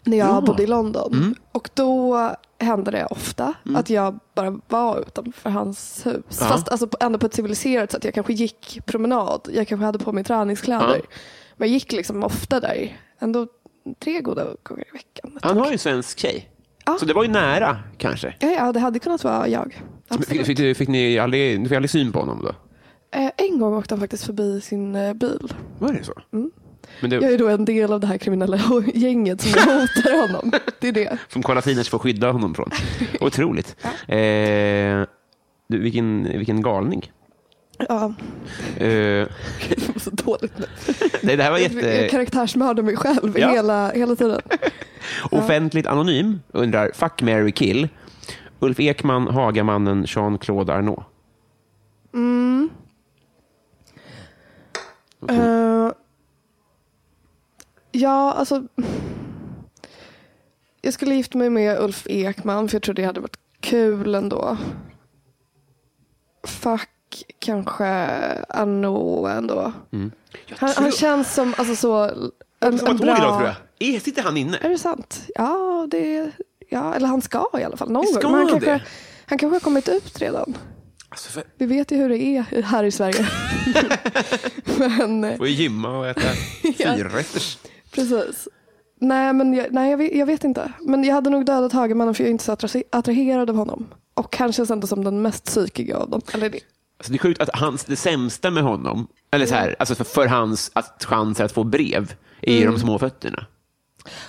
Speaker 3: när jag bodde i London.
Speaker 2: Mm.
Speaker 3: Och då hände det ofta att jag bara var utanför hans hus. Fast alltså, på- ändå på ett civiliserat sätt. Jag kanske gick promenad. Jag kanske hade på mig träningskläder.
Speaker 2: Ja.
Speaker 3: Men jag gick liksom ofta där. Ändå tre goda gånger i veckan.
Speaker 2: Han har ju en svensk tjej.
Speaker 3: Ja.
Speaker 2: Så det var ju nära, kanske.
Speaker 3: Ja, ja, det hade kunnat vara jag.
Speaker 2: Men Fick,
Speaker 3: Absolut.
Speaker 2: fick, du- fick ni aldrig, du fick aldrig syn på honom då?
Speaker 3: Eh, En gång åkte han faktiskt förbi sin eh, bil.
Speaker 2: Var det så? Men det,
Speaker 3: Mm. Jag är då en del av det här kriminella *laughs* gänget som hotar
Speaker 2: *laughs*
Speaker 3: honom. Det är det.
Speaker 2: Som Kolasinac får skydda honom
Speaker 3: *laughs*
Speaker 2: från. Otroligt. Eh, du, vilken, vilken galning.
Speaker 3: Ja, *laughs*
Speaker 2: Eh,
Speaker 3: jag mår så dåligt nu.
Speaker 2: nej, det här var
Speaker 3: Jag
Speaker 2: jätte...
Speaker 3: karaktärsmördar mig själv
Speaker 2: Ja.
Speaker 3: hela, hela tiden.
Speaker 2: Offentligt anonym undrar, fuck, Mary kill. Ulf Ekman, Hagamannen, Jean-Claude Arnault. Mm.
Speaker 3: Eh, ja, alltså. Jag skulle gifta mig med Ulf Ekman för jag tror det hade varit kul ändå. Fuck kanske Arnault ändå.
Speaker 2: Mm.
Speaker 3: Han, han känns som alltså, så, en,
Speaker 2: Som
Speaker 3: en
Speaker 2: var tåg idag, tror
Speaker 3: bra...
Speaker 2: jag. Är- Sitter han inne?
Speaker 3: Är det sant? Ja, det, ja, eller han ska i alla fall någon
Speaker 2: Ska
Speaker 3: gång. Men han,
Speaker 2: han det?
Speaker 3: kanske, han kanske har kommit ut redan.
Speaker 2: Alltså, för...
Speaker 3: Vi vet ju hur det är här
Speaker 2: *laughs*
Speaker 3: i Sverige. men, eh,
Speaker 2: Får ju gymma *laughs* och äta fyrrätters.
Speaker 3: Precis. Nej, men jag, nej, jag, vet, jag vet inte. Men jag hade nog dödat Hagemannen för jag är inte så attra- attraherad av honom. Och han känns ändå som den mest psykiga av dem. Eller det.
Speaker 2: Alltså, det är sjukt att hans, det sämsta med honom, eller så här, alltså för, för hans att, chanser att få brev, är ju de små fötterna.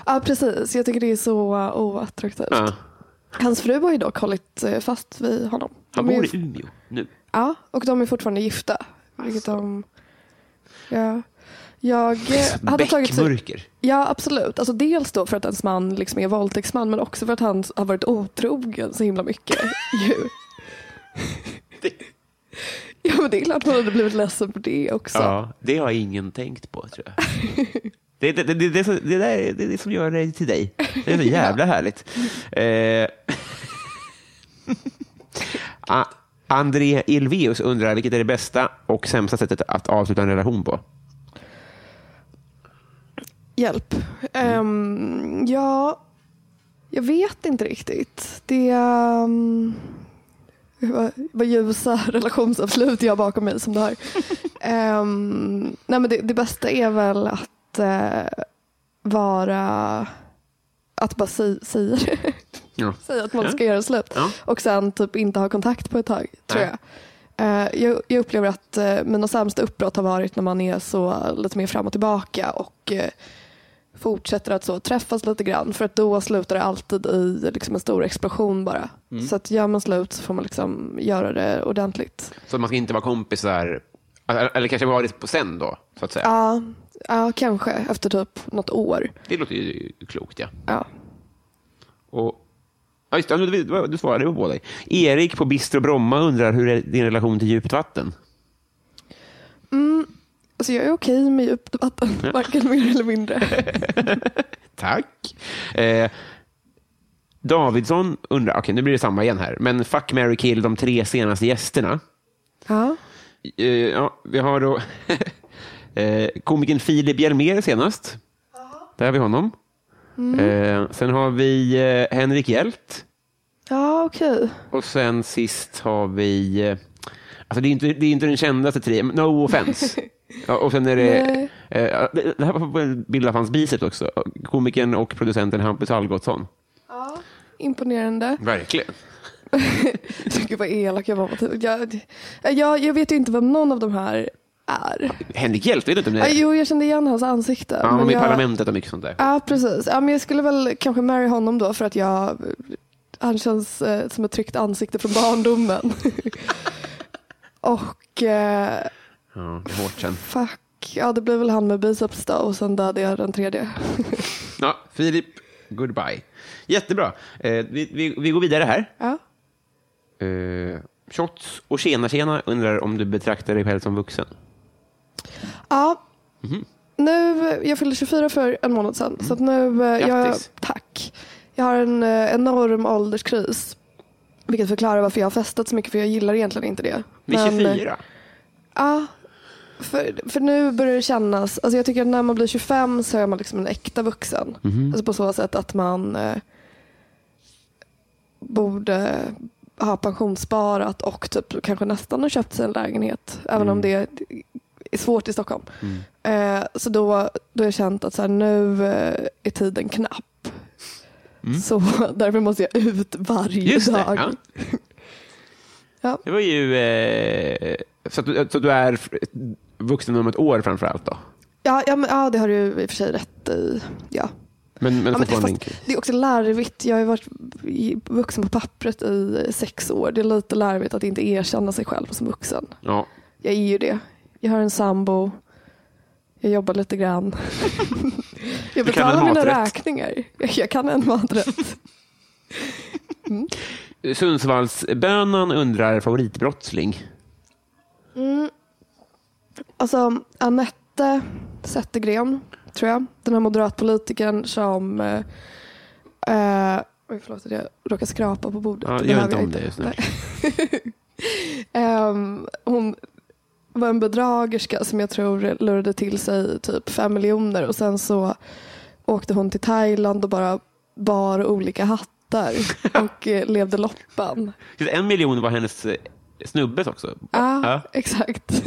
Speaker 3: Ja, precis. Jag tycker det är så uh, oattraktivt.
Speaker 2: Ja.
Speaker 3: Hans fru har ju dock hållit eh, fast vid honom.
Speaker 2: Han
Speaker 3: De är
Speaker 2: bor
Speaker 3: ju-
Speaker 2: i Umeå nu.
Speaker 3: Ja, och de är fortfarande gifta. Vilket de... Ja. Jag eh, hade tagit...
Speaker 2: Bäckmörker.
Speaker 3: Ja, absolut. Alltså, dels då för att ens man liksom är våldtäktsman men också för att han har varit otrogen så himla mycket. *laughs* ju. Ja, men det är klart man hade blivit ledsen på det också.
Speaker 2: Ja, det har ingen tänkt på, tror jag. *laughs* Det, det, det, det, är så- det, där, är- det är det som gör det till dig. Det är så jävla härligt. Eh. *laughs* A- André Ilveus undrar vilket är det bästa och sämsta sättet att avsluta en relation på?
Speaker 3: Hjälp. Ehm, ja, jag vet inte riktigt. Det är... Um, vad, vad ljusa *laughs* relationsavslut jag har bakom mig som det här. Ehm, nej men det, det bästa är väl att eh, vara... Att bara säga, säga det.
Speaker 2: Ja.
Speaker 3: säga att man ska göra slut
Speaker 2: Ja.
Speaker 3: och sen typ inte ha kontakt på ett tag tror
Speaker 2: Nej.
Speaker 3: jag. Eh, jag. Jag upplever att eh, mina sämsta uppbrott har varit när man är så lite mer fram och tillbaka och eh, fortsätter att så träffas lite grann för att då slutar det alltid i liksom en stor explosion bara.
Speaker 2: Mm.
Speaker 3: Så att gör man slut så får man liksom göra det ordentligt.
Speaker 2: Så man ska inte vara kompisar, eller eller kanske vara det på sen då, så att säga.
Speaker 3: Ja, ja kanske efter typ något år.
Speaker 2: Det låter ju klokt, ja.
Speaker 3: Ja.
Speaker 2: Och, ja just det, du, du- du svarade ju på dig. Erik på Bistro Bromma undrar hur är din relation till djupt vatten?
Speaker 3: Alltså jag är okej med djupt vatten, varken mer eller mindre.
Speaker 2: *laughs* Tack. Eh, Davidsson undrar, okej nu blir det samma igen här, men fuck, Mary kill de tre senaste gästerna.
Speaker 3: Ja.
Speaker 2: Eh, ja, vi har då *laughs* eh, komikern Filip Hjelmér senast. Där har vi honom. Eh, sen har vi eh, Henrik Hjelt.
Speaker 3: Ja, okej.
Speaker 2: Och sen sist har vi... eh, Alltså det är inte, det är inte den kändaste tre, men no offense. Ja, och sen är det...
Speaker 3: Nej.
Speaker 2: eh, det- Det här var en bild av hans biceps också. Komikern och producenten Hampus Algotsson.
Speaker 3: Imponerande.
Speaker 2: Mm. Verkligen.
Speaker 3: Gud vad elak jag var mot henne. jag, jag, jag vet ju inte vem någon av de här är.
Speaker 2: Henrik Hjelt, vet du inte om det
Speaker 3: Ah,
Speaker 2: är?
Speaker 3: jo, jag kände igen hans ansikte.
Speaker 2: Ja, Han var med i
Speaker 3: jag,
Speaker 2: Parlamentet och mycket sånt där.
Speaker 3: Ja, precis. Ja, men jag skulle väl kanske marry honom då för att jag, han känns eh, som ett tryckt ansikte från
Speaker 2: *laughs*
Speaker 3: barndomen. och eh,
Speaker 2: Ja, det är hårt sen.
Speaker 3: fuck, ja det blir väl han med biceps då och sen dödade jag den tredje.
Speaker 2: Ja, Filip, goodbye. Jättebra. Eh, vi, vi, vi går vidare här.
Speaker 3: ja.
Speaker 2: Eh, shots och tjena tjena undrar om du betraktar dig själv som vuxen.
Speaker 3: Ja. Nu, jag fyllde 24 för en månad sedan. Så att nu, eh, jag,
Speaker 2: Grattis.
Speaker 3: tack. Jag har en eh, enorm ålderskris. Vilket förklarar varför jag har festat så mycket för jag gillar egentligen inte det.
Speaker 2: Vid
Speaker 3: Men, eh,
Speaker 2: 24?
Speaker 3: Ja. För, för nu börjar det kännas, alltså jag tycker att när man blir 25 så är man liksom en äkta vuxen.
Speaker 2: Mhm.
Speaker 3: Alltså på så sätt att man eh, borde ha pensionssparat och typ kanske nästan har köpt sig en lägenhet. Även
Speaker 2: Mm.
Speaker 3: om det är svårt i Stockholm. Eh, så då, då har jag känt att så här, nu eh, är tiden knapp. Så *laughs* därför måste jag ut varje
Speaker 2: Mm. Just det.
Speaker 3: dag.
Speaker 2: Ja.
Speaker 3: *laughs* Ja.
Speaker 2: Det var ju... Eh, så, att, du- så att du är f- vuxen om ett år framför allt då?
Speaker 3: Ja, ja, men, ja, det har du i och för sig rätt i. Ja.
Speaker 2: Men, men
Speaker 3: Ja, men
Speaker 2: fortfarande
Speaker 3: fast
Speaker 2: inte.
Speaker 3: det är också larvigt. Jag har ju varit i- vuxen på pappret i sex år. Det är lite larvigt att inte erkänna sig själv som vuxen.
Speaker 2: Ja.
Speaker 3: Jag är ju det. Jag har en sambo. Jag jobbar
Speaker 2: *laughs*
Speaker 3: lite grann. jag
Speaker 2: Du kan en
Speaker 3: betalar mina
Speaker 2: maträtt.
Speaker 3: räkningar. Jag kan en maträtt.
Speaker 2: Sundsvallsbönan undrar favoritbrottsling.
Speaker 3: Mm. Alltså, Anette Zettergren, tror jag. Den här moderatpolitikern som... Eh, eh, oj, förlåt att jag råkade skrapa på bordet.
Speaker 2: Ja, gör
Speaker 3: behöver
Speaker 2: inte
Speaker 3: jag
Speaker 2: om det just nu.
Speaker 3: *laughs* Ehm, hon var en bedragerska som jag tror lurade till sig typ fem miljoner och sen så åkte hon till Thailand och bara bar
Speaker 2: *laughs*
Speaker 3: olika hattar och eh, levde loppan.
Speaker 2: Just En miljon var hennes eh, snubbes också.
Speaker 3: Ja,
Speaker 2: Ja.
Speaker 3: exakt. *laughs*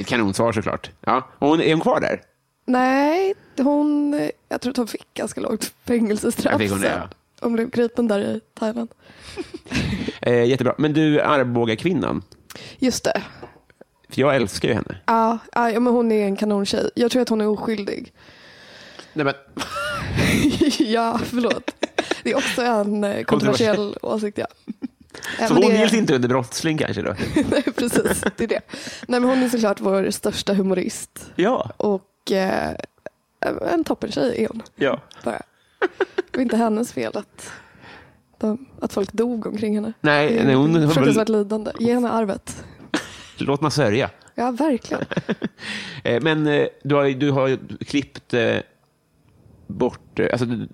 Speaker 2: Ett kanonsvar såklart. Ja. Och hon, är hon kvar där?
Speaker 3: Nej, hon, jag tror att hon fick ganska lågt
Speaker 2: Ja,
Speaker 3: fängelsestraff
Speaker 2: fick hon det,
Speaker 3: sen.
Speaker 2: ja.
Speaker 3: Hon blev gripen där i Thailand.
Speaker 2: Eh, jättebra. Men du, Arboga kvinnan.
Speaker 3: Just det.
Speaker 2: För jag älskar ju henne.
Speaker 3: Ja, ja, ja, men hon är en kanontjej. Jag tror att hon är oskyldig. *laughs*
Speaker 2: Nej, men,
Speaker 3: ja, förlåt. Det är också en eh, kontroversiell åsikt.
Speaker 2: *laughs*
Speaker 3: Ja. Eh,
Speaker 2: så
Speaker 3: men
Speaker 2: hon
Speaker 3: det-
Speaker 2: gills inte under brottsling kanske då?
Speaker 3: *laughs* Nej, precis. Det är det. Nej, men hon är såklart vår största humorist.
Speaker 2: *laughs* Ja.
Speaker 3: Och eh, en toppentjej är hon.
Speaker 2: ja.
Speaker 3: Bara. Det var inte hennes fel att, de, att folk dog omkring henne. Det
Speaker 2: Nej,
Speaker 3: är
Speaker 2: nej hon, hon,
Speaker 3: Fruktansvärt lidande. Ge henne arvet.
Speaker 2: låt mig sörja. *laughs*
Speaker 3: Ja, verkligen.
Speaker 2: Eh, Men eh, du har, ju- du har ju klippt eh, bort... eh, Alltså, du,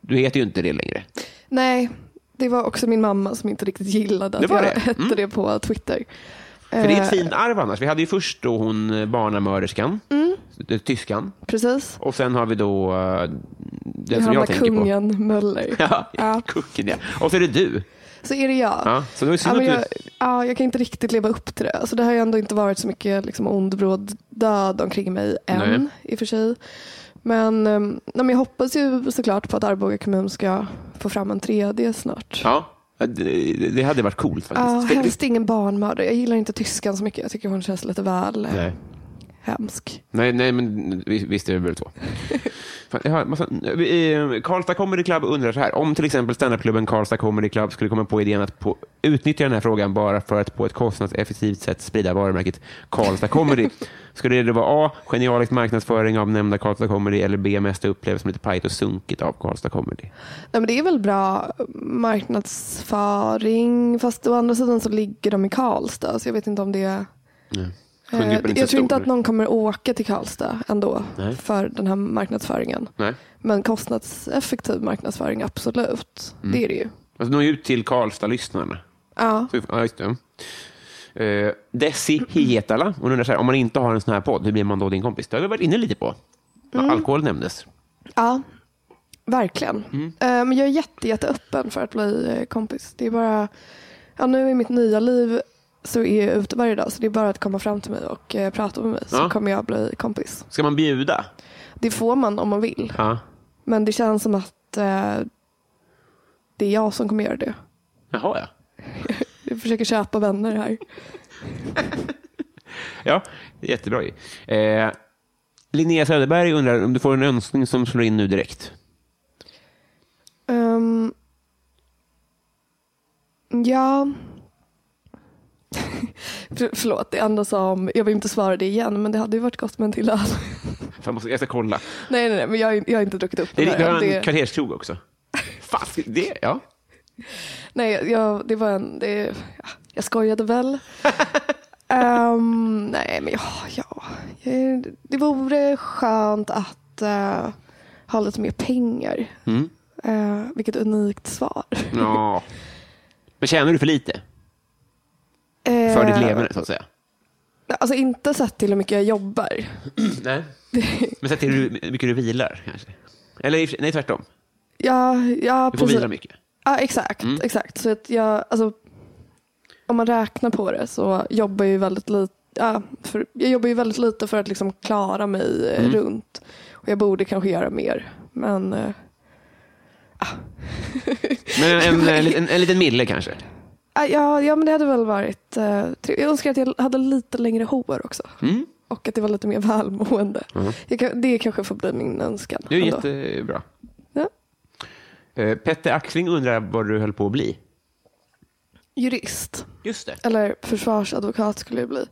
Speaker 2: du heter ju inte det längre.
Speaker 3: Nej, det var också min mamma som inte riktigt gillade
Speaker 2: Det
Speaker 3: att
Speaker 2: var
Speaker 3: jag
Speaker 2: det?
Speaker 3: hette
Speaker 2: Mm.
Speaker 3: det på Twitter. Eh,
Speaker 2: För det är ett fint arv annars. Vi hade ju först då hon eh, barnamörderskan,
Speaker 3: Mm.
Speaker 2: eh, tyskan.
Speaker 3: Precis.
Speaker 2: Och sen har vi då eh, den som
Speaker 3: Johanna
Speaker 2: jag tänker på.
Speaker 3: Kungen Möller.
Speaker 2: *laughs* Ja,
Speaker 3: Ja.
Speaker 2: Kungen, ja. Och så är det du.
Speaker 3: Så är det jag.
Speaker 2: Ja, så det var ju synd
Speaker 3: men jag,
Speaker 2: att du...
Speaker 3: ja, jag kan inte riktigt leva upp till det. Alltså, det har ju ändå inte varit så mycket liksom, ond bråd död omkring mig än
Speaker 2: Nej.
Speaker 3: i och för sig. Men, eh, nej, men jag hoppas ju såklart på att Arboga kommun ska få fram en tredje snart.
Speaker 2: Ja, det, det hade varit coolt
Speaker 3: Ja,
Speaker 2: faktiskt.
Speaker 3: helst ingen barnmördare. Jag gillar inte tyskan så mycket. Jag tycker hon känns lite väl eh,
Speaker 2: Nej.
Speaker 3: hemsk.
Speaker 2: Nej, nej, men vi- visst är det väl
Speaker 3: *laughs*
Speaker 2: så. Fan, jag har en massa- vi- eh, Karlstad Comedy Club undrar så här. Om till exempel standupklubben Karlstad Comedy Club skulle komma på idén att på, utnyttja den här frågan bara för att på ett kostnadseffektivt sätt sprida varumärket Karlstad
Speaker 3: *laughs*
Speaker 2: Comedy. skulle det då vara A. Genialisk marknadsföring av nämnda Karlstad Comedy eller B. Mesta upplevelse som lite pajigt och sunkigt av Karlstad Comedy?
Speaker 3: Nej, men det är väl bra marknadsföring. Fast å andra sidan så ligger de i Karlstad. Så jag vet inte om det är...
Speaker 2: Kundgruppen är
Speaker 3: Eh,
Speaker 2: inte så
Speaker 3: jag tror inte
Speaker 2: stor.
Speaker 3: att någon kommer åka till Karlstad ändå
Speaker 2: Nej.
Speaker 3: för den här marknadsföringen.
Speaker 2: Nej.
Speaker 3: Men kostnadseffektiv marknadsföring, absolut. Det är det ju.
Speaker 2: Alltså, nå ut till Karlstad-lyssnarna.
Speaker 3: Ja.
Speaker 2: Så vi får- Ja, just det. Eh, Desi Hietala, hon undrar så här, om man inte har en sån här podd, hur blir man då din kompis? Det har vi varit inne lite på. Alkohol nämndes.
Speaker 3: ja, verkligen.
Speaker 2: Mm.
Speaker 3: Eh, Men jag är jätte, jätteöppen för att bli eh, kompis. Det är bara, ja, nu i mitt nya liv så är jag ute varje dag så det är bara att komma fram till mig och eh, prata med mig så
Speaker 2: Ja.
Speaker 3: kommer jag bli kompis.
Speaker 2: Ska man bjuda?
Speaker 3: Det får man om man vill.
Speaker 2: Ja.
Speaker 3: Men det känns som att eh, det är jag som kommer göra det.
Speaker 2: Jaha, ja.
Speaker 3: Jag försöker köpa vänner här.
Speaker 2: Ja, jättebra ju. Eh, Linnea Söderberg undrar om du får en önskning som slår in nu direkt.
Speaker 3: Ehm, ja. *laughs* För, förlåt, det enda som, jag vill inte svara det igen, men det hade ju varit gott med en till öl. *laughs*
Speaker 2: Fan, jag måste- jag ska kolla.
Speaker 3: nej, nej, nej, men jag, har ju- jag har inte druckit upp
Speaker 2: Det
Speaker 3: den
Speaker 2: är, vi
Speaker 3: här
Speaker 2: har
Speaker 3: än.
Speaker 2: en
Speaker 3: Det-
Speaker 2: kvarterskrog *laughs* också. Fast, det, ja.
Speaker 3: Nej, jag, det var en, det, ja, jag
Speaker 2: *laughs*
Speaker 3: skojade väl. Ehm, nej, men ja, ja. Eh, Det vore skönt att eh, ha lite mer pengar.
Speaker 2: Mm.
Speaker 3: Eh, vilket unikt svar.
Speaker 2: *laughs* ja. Men tjänar du för lite? För ditt leverne, så att säga?
Speaker 3: Alltså inte sett till hur mycket jag jobbar.
Speaker 2: Nej. Men sett till hur hur mycket du vilar, kanske? Eller i och för sig- nej, tvärtom.
Speaker 3: Ja, ja
Speaker 2: Du får
Speaker 3: precis.
Speaker 2: vila mycket. Mm.
Speaker 3: Ja, exakt. exakt. Så att jag, alltså, om man räknar på det så jobbar jag ju väldigt lite Ja, för, jag jobbar ju väldigt lite för att liksom klara mig eh,
Speaker 2: Mm.
Speaker 3: runt. Och jag borde kanske göra mer. Men eh,
Speaker 2: Men *laughs* en, en, en, en liten mille kanske?
Speaker 3: ah, ja, ja, men det hade väl varit eh, trevligt. Jag önskar att jag hade lite längre hår också.
Speaker 2: Mm.
Speaker 3: Och att det var lite mer *laughs* välmående. Jag kan, det kanske får bli min önskan.
Speaker 2: Det är
Speaker 3: ändå.
Speaker 2: jättebra.
Speaker 3: Ja.
Speaker 2: Eh, Petter Axling undrar vad du höll på att bli.
Speaker 3: Jurist.
Speaker 2: Just det.
Speaker 3: Eller försvarsadvokat skulle jag bli.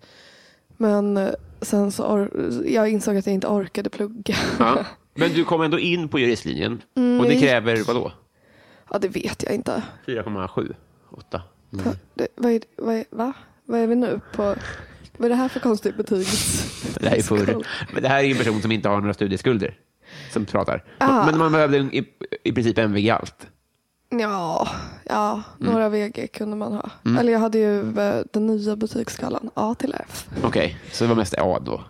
Speaker 3: Men eh, sen så or- jag insåg att jag inte orkade plugga.
Speaker 2: Ja. Men du kom ändå in på juristlinjen. och det
Speaker 3: jag gick-
Speaker 2: kräver vadå?
Speaker 3: *laughs* Ja, det vet jag inte.
Speaker 2: 4,7? 8?
Speaker 3: Ta- Det, vad, är, vad, är, va? vad är vi nu på? Vad är det här för konstigt betyg?
Speaker 2: Det här är förr. Men det här är ju en person som inte har några studieskulder som pratar.
Speaker 3: Ah.
Speaker 2: Men man behövde en- i, i princip MVG allt.
Speaker 3: Ja, ja några VG kunde man ha. Eller jag hade ju eh, den nya betygsskalan A till F.
Speaker 2: Okej, så det var mest A då.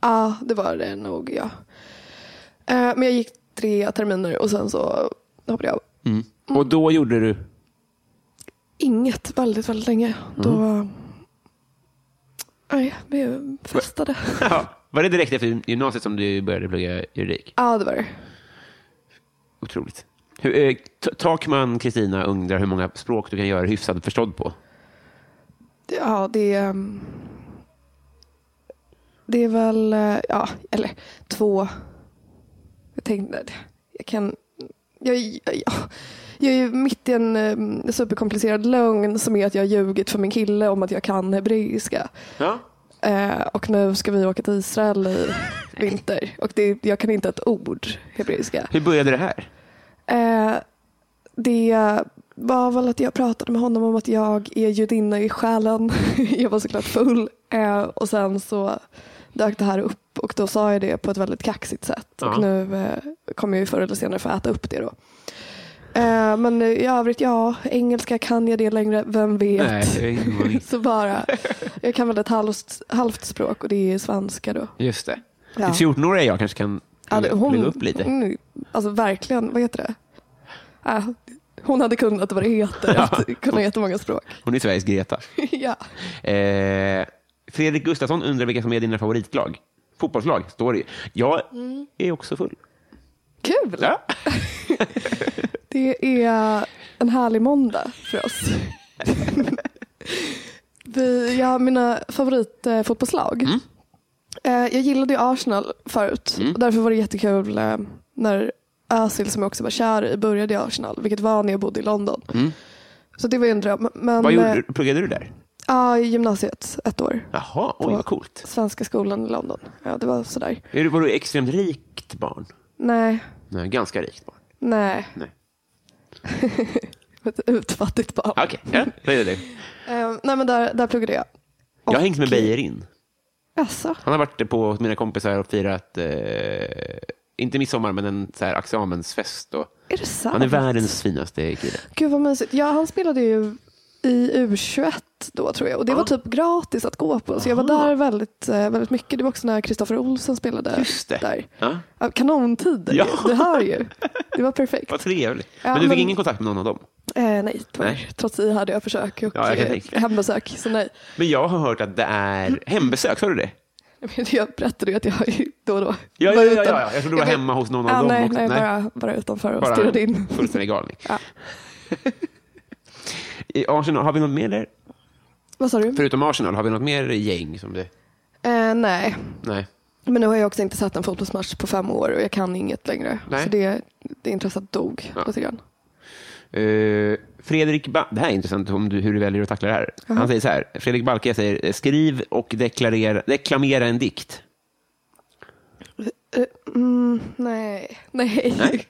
Speaker 3: Ja, det var det nog ja. Eh, Men jag gick tre terminer och sen så hoppade jag av.
Speaker 2: Och då gjorde du?
Speaker 3: Inget väldigt, väldigt länge. Då... Nej, vi festade.
Speaker 2: Ja. Var det direkt efter gymnasiet som du började plugga juridik?
Speaker 3: Ja, det var det.
Speaker 2: Otroligt. Hur, eh, T- Takman Kristina undrar hur många språk du kan göra hyfsad förstådd på.
Speaker 3: Ja, det är... ehm, Det är väl, eh, ja, eller två. Jag tänkte, jag kan... Jag, jag, jag är ju mitt i en ehm, superkomplicerad lögn som är att jag har ljugit för min kille om att jag kan hebreiska.
Speaker 2: Ja.
Speaker 3: Eh, och nu ska vi åka till Israel *laughs* i vinter. Och det, jag kan inte ett ord hebreiska.
Speaker 2: Hur började det här?
Speaker 3: Eh, det var väl att jag pratade med honom om att jag är judinna i själen. *laughs* jag var såklart full. Eh, och sen så dök det här upp och då sa jag det på ett väldigt kaxigt sätt.
Speaker 2: Ja.
Speaker 3: Och nu eh, kommer jag ju förr eller senare få äta upp det då. Eh, men i övrigt, ja, engelska kan jag det längre, vem vet.
Speaker 2: Nej,
Speaker 3: *laughs* Så bara, jag kan väl ett halvt, halvt språk och det är svenska då.
Speaker 2: just det.
Speaker 3: Ja.
Speaker 2: I 14-åriga jag kanske kan
Speaker 3: Ja, det- hon-
Speaker 2: lägga upp lite.
Speaker 3: Mm, alltså verkligen, vad heter det? Äh, hon hade kunnat vad det heter, att kunna jättemånga språk. *laughs*
Speaker 2: Hon är Sveriges Greta.
Speaker 3: ja.
Speaker 2: Eh, Fredrik Gustafsson undrar vilka som är dina favoritlag. Fotbollslag, står det ju. Jag
Speaker 3: Mm.
Speaker 2: är också full.
Speaker 3: Kul!
Speaker 2: Ja.
Speaker 3: Det är en härlig måndag
Speaker 2: *laughs*
Speaker 3: för oss. Vi, jag har mina favoritfotbollslag.
Speaker 2: Mm.
Speaker 3: Eh, jag gillade ju Arsenal förut. Och därför var det jättekul eh, när Özil, som jag också var kär i, började i Arsenal. Vilket var när jag bodde i London. Så det var ju en dröm. Men,
Speaker 2: Mm. Vad
Speaker 3: eh,
Speaker 2: gjorde, du? pluggade du där?
Speaker 3: Ja, i gymnasiet ett år.
Speaker 2: Jaha, oj vad coolt.
Speaker 3: Svenska skolan i London. Ja, det var sådär.
Speaker 2: Är du, var du extremt rikt barn?
Speaker 3: Nej,
Speaker 2: Nej, ganska rikt barn.
Speaker 3: nej.
Speaker 2: Nej.
Speaker 3: *laughs* Ett utfattigt barn.
Speaker 2: Okej, ja, det är det.
Speaker 3: Eh, nej, men där, där pluggade jag.
Speaker 2: Jag har hängt med
Speaker 3: Och-
Speaker 2: Beijerin.
Speaker 3: Jaså?
Speaker 2: Han har varit på hos mina kompisar och firat, eh, inte midsommar, men en så här, examensfest. Och,
Speaker 3: Är det sant?
Speaker 2: han är världens finaste kille.
Speaker 3: Gud vad mysigt. Ja, han spelade ju i U21 då tror jag. Och det var typ gratis att gå på. Så jag var där väldigt, eh, väldigt mycket. Det var också när Kristoffer Olsson spelade
Speaker 2: Just det.
Speaker 3: där.
Speaker 2: Ja.
Speaker 3: Ja, Kanontider
Speaker 2: Ja.
Speaker 3: ju. Du hör ju. Det var
Speaker 2: *laughs* *laughs*
Speaker 3: perfekt.
Speaker 2: Vad trevligt.
Speaker 3: Ja,
Speaker 2: men du fick
Speaker 3: men-
Speaker 2: ingen kontakt med någon av dem?
Speaker 3: Eh, nej, tyvärr.
Speaker 2: Nej.
Speaker 3: Trots det hade jag försök och
Speaker 2: Ja, jag kan
Speaker 3: eh,
Speaker 2: tänka.
Speaker 3: hembesök. Så nej.
Speaker 2: Men jag har hört att det är hembesök, sa du det?
Speaker 3: Men Jag berättade ju att jag ju då och då
Speaker 2: Ja, ja,
Speaker 3: var
Speaker 2: ja,
Speaker 3: utan-
Speaker 2: ja, ja. Jag trodde du var
Speaker 3: vet-
Speaker 2: hemma hos någon av
Speaker 3: ja,
Speaker 2: dem
Speaker 3: nej,
Speaker 2: också.
Speaker 3: Nej,
Speaker 2: Nej.
Speaker 3: Bara, bara utanför och
Speaker 2: Bara en
Speaker 3: stirrade in.
Speaker 2: fullständig galning.
Speaker 3: Ja.
Speaker 2: *laughs* I Arsenal, har vi något mer där?
Speaker 3: *laughs* Vad sa du?
Speaker 2: Förutom Arsenal, har vi något mer gäng? Som det?
Speaker 3: Eh, nej,
Speaker 2: Nej.
Speaker 3: men nu har jag också inte sett en fotbollsmatch på fem år och jag kan inget längre.
Speaker 2: Nej.
Speaker 3: Så det, det intresset dog
Speaker 2: Ja.
Speaker 3: lite grann.
Speaker 2: Eh, Fredrik ba- det här är intressant om du, hur du väljer att tackla det här. Han säger så här, Fredrik Balke säger eh, skriv och deklarera, deklamera en dikt.
Speaker 3: Eh, mm, nej, nej. nej.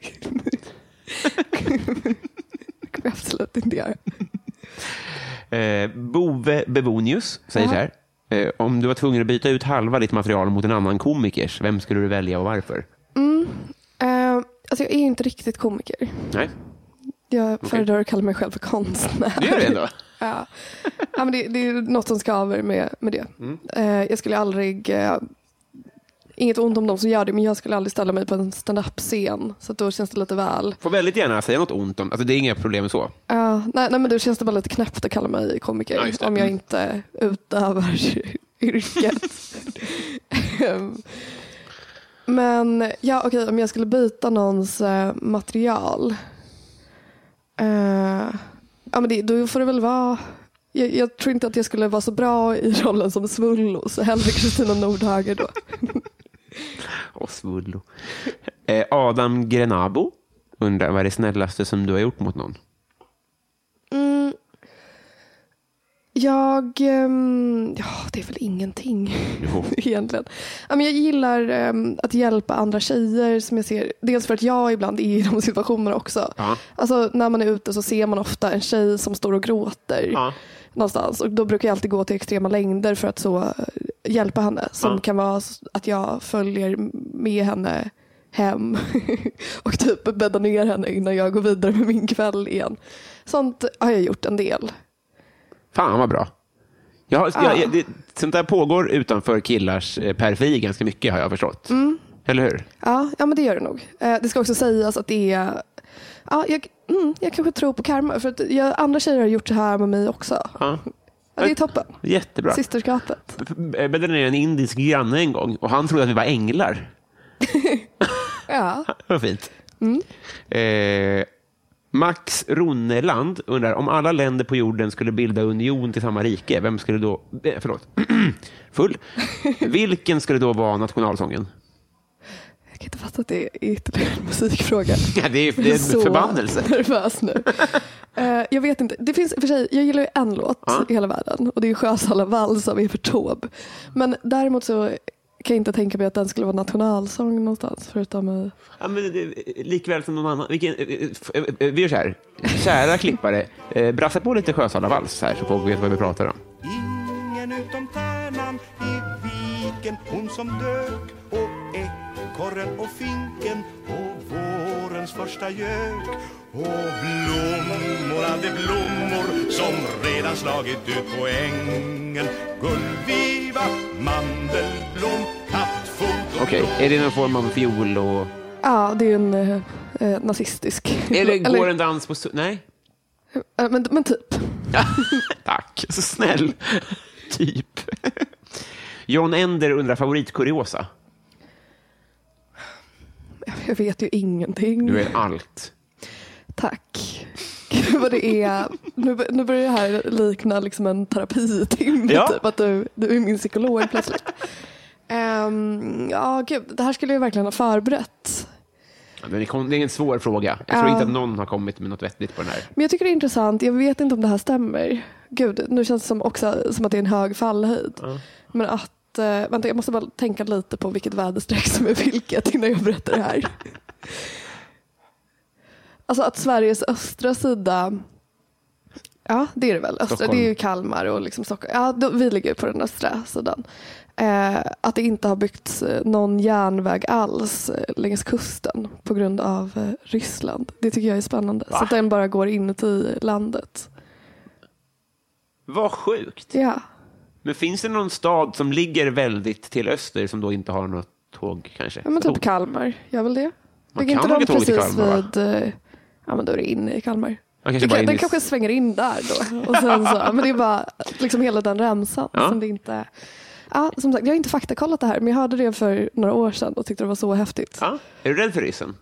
Speaker 3: det kommer *laughs* jag absolut inte göra.
Speaker 2: Eh, Bove Bebonius säger så här, eh, om du var tvungen att byta ut halva ditt material mot en annan komikers, vem skulle du välja och varför?
Speaker 3: Eh, alltså jag är ju inte riktigt komiker.
Speaker 2: Nej,
Speaker 3: Jag föredrar att kalla mig själv för konstnär.
Speaker 2: det gör det ändå.
Speaker 3: Ja. Ja, men det, det är något som skaver med, med det. Eh, jag skulle aldrig, eh, inget ont om de som gör det, men jag skulle aldrig ställa mig på en stand-up-scen. Så att då känns det lite väl,
Speaker 2: Får väldigt gärna säga något ont om, alltså det är inga problem så.
Speaker 3: ja, nej, nej, men då känns det bara lite knäppt att kalla mig komiker
Speaker 2: Ja, just det.
Speaker 3: om jag
Speaker 2: Mm.
Speaker 3: inte utövar *laughs* yrket. Ehm, men ja, okej, om jag skulle byta någons eh, material. Eh, ja, men det, då får det väl vara jag, jag tror inte att jag skulle vara så bra i rollen som Svullo, så hellre Kristina Nordhager då.
Speaker 2: Osvullo. Eh, Adam Grenabo undrar, vad är det snällaste som du har gjort mot någon?
Speaker 3: Jag, ehm, ja det är väl ingenting
Speaker 2: Jo.
Speaker 3: *laughs* egentligen. Ja, men jag gillar ehm, att hjälpa andra tjejer som jag ser, dels för att jag ibland är i de situationerna också.
Speaker 2: Ja.
Speaker 3: Alltså när man är ute så ser man ofta en tjej som står och gråter
Speaker 2: Ja.
Speaker 3: någonstans och då brukar jag alltid gå till extrema längder för att så eh, hjälpa henne. Som
Speaker 2: Ja.
Speaker 3: kan vara s- att jag följer med henne hem *laughs* och typ bäddar ner henne innan jag går vidare med min kväll igen. Sånt har jag gjort en del.
Speaker 2: Fan vad bra. Jag, har- jag, jag, det, sånt där pågår utanför killars eh, periferi ganska mycket har jag förstått. Eller hur?
Speaker 3: Ja, ja men det gör det nog. Eh, det ska också sägas att det är... Ja, jag, mm, jag kanske tror på karma. För att jag, andra tjejer har gjort så här med mig också.
Speaker 2: Ja.
Speaker 3: Ja, det är toppen.
Speaker 2: Jättebra. eh,
Speaker 3: Systerskapet.
Speaker 2: Jag bäddade ner en indisk granne en gång och han trodde att vi var änglar.
Speaker 3: Ja.
Speaker 2: *laughs* Det var fint. Eh, Max Ronneland undrar om alla länder på jorden skulle bilda union till samma rike, vem skulle då... Eh, förlåt. *clears throat* Full. Vilken skulle då vara nationalsången? *laughs*
Speaker 3: Jag kan inte fatta att det är ytterligare en musikfråga.
Speaker 2: Ja, *laughs* det är,
Speaker 3: Jag
Speaker 2: det är en
Speaker 3: så
Speaker 2: förbannelse.
Speaker 3: nervös nu. Eh, jag vet inte. Det finns, för sig, jag gillar ju en låt
Speaker 2: Ja.
Speaker 3: i hela världen och det är Sjösala vals av Evert Taube. Men däremot så kan jag inte tänka mig att den skulle vara nationalsång någonstans förutom i...
Speaker 2: Ja, men, det- likväl som någon annan. Vilken, eh, eh, f- eh, eh, vi gör så här. Kära klippare, eh, brassa på lite Sjösalavals här så folk vet vad vi pratar om.
Speaker 5: Ingen utom tärnan i viken Hon som dök och ekorren och finken Och vårens första gök Och blommor, allt är blommor Som redan slagit ut på ängen Gullviva, mandelblom, kattfot och
Speaker 2: Okej, är det någon form av fiol och...
Speaker 3: Ja, det är ju en eh, eh, nazistisk...
Speaker 2: Eller går en dans på... su- Nej?
Speaker 3: Eh, Men, men typ.
Speaker 2: Tack, så snäll. *laughs* typ. John Ender undrar favoritkuriosa.
Speaker 3: Jag vet ju ingenting.
Speaker 2: Du är allt.
Speaker 3: Tack. Gud vad det är. Nu, bör- nu börjar det här likna liksom en terapitimme.
Speaker 2: Ja.
Speaker 3: Typ att du, du är min psykolog plötsligt. Ehm, ja, gud. Det här skulle jag verkligen ha förberett.
Speaker 2: Ja, men Det kom- det är en svår fråga. Jag tror
Speaker 3: Ja.
Speaker 2: inte att någon har kommit med något vettigt på den här.
Speaker 3: Men jag tycker det är intressant. Jag vet inte om det här stämmer. Gud, nu känns det som också som att det är en hög fallhöjd. Men att, eh, vänta, jag måste bara tänka lite på vilket väderstreck som är vilket innan jag berättar det här. Alltså att Sveriges östra sida, ja det är det väl, östra,
Speaker 2: Stockholm.
Speaker 3: det är ju Kalmar och liksom Stockholm. Ja, då, vi ligger på den östra sidan. Eh, att det inte har byggts eh, någon järnväg alls eh, längs kusten på grund av eh, Ryssland. Det tycker jag är spännande. Så att den bara går inuti landet.
Speaker 2: Vad sjukt.
Speaker 3: Ja.
Speaker 2: Men finns det någon stad som ligger väldigt till öster som då inte har något tåg kanske?
Speaker 3: Ja, men typ
Speaker 2: Tåg.
Speaker 3: Kalmar gör väl det?
Speaker 2: Man
Speaker 3: Ligger
Speaker 2: kan
Speaker 3: inte de
Speaker 2: åka tåg till
Speaker 3: precis
Speaker 2: Kalmar, va?
Speaker 3: vid... eh, Ja men då är det inne i Kalmar.
Speaker 2: Ja, kanske
Speaker 3: Det
Speaker 2: bara
Speaker 3: kan,
Speaker 2: in i-
Speaker 3: den kanske svänger in där då. Och sen så, ja, men det är bara liksom hela den remsan.
Speaker 2: Ja.
Speaker 3: Som det inte, ja, som sagt, jag har inte faktakollat det här men jag hörde det för några år sedan och tyckte det var så häftigt. Ja,
Speaker 2: Ja. Är du rädd för ryssen?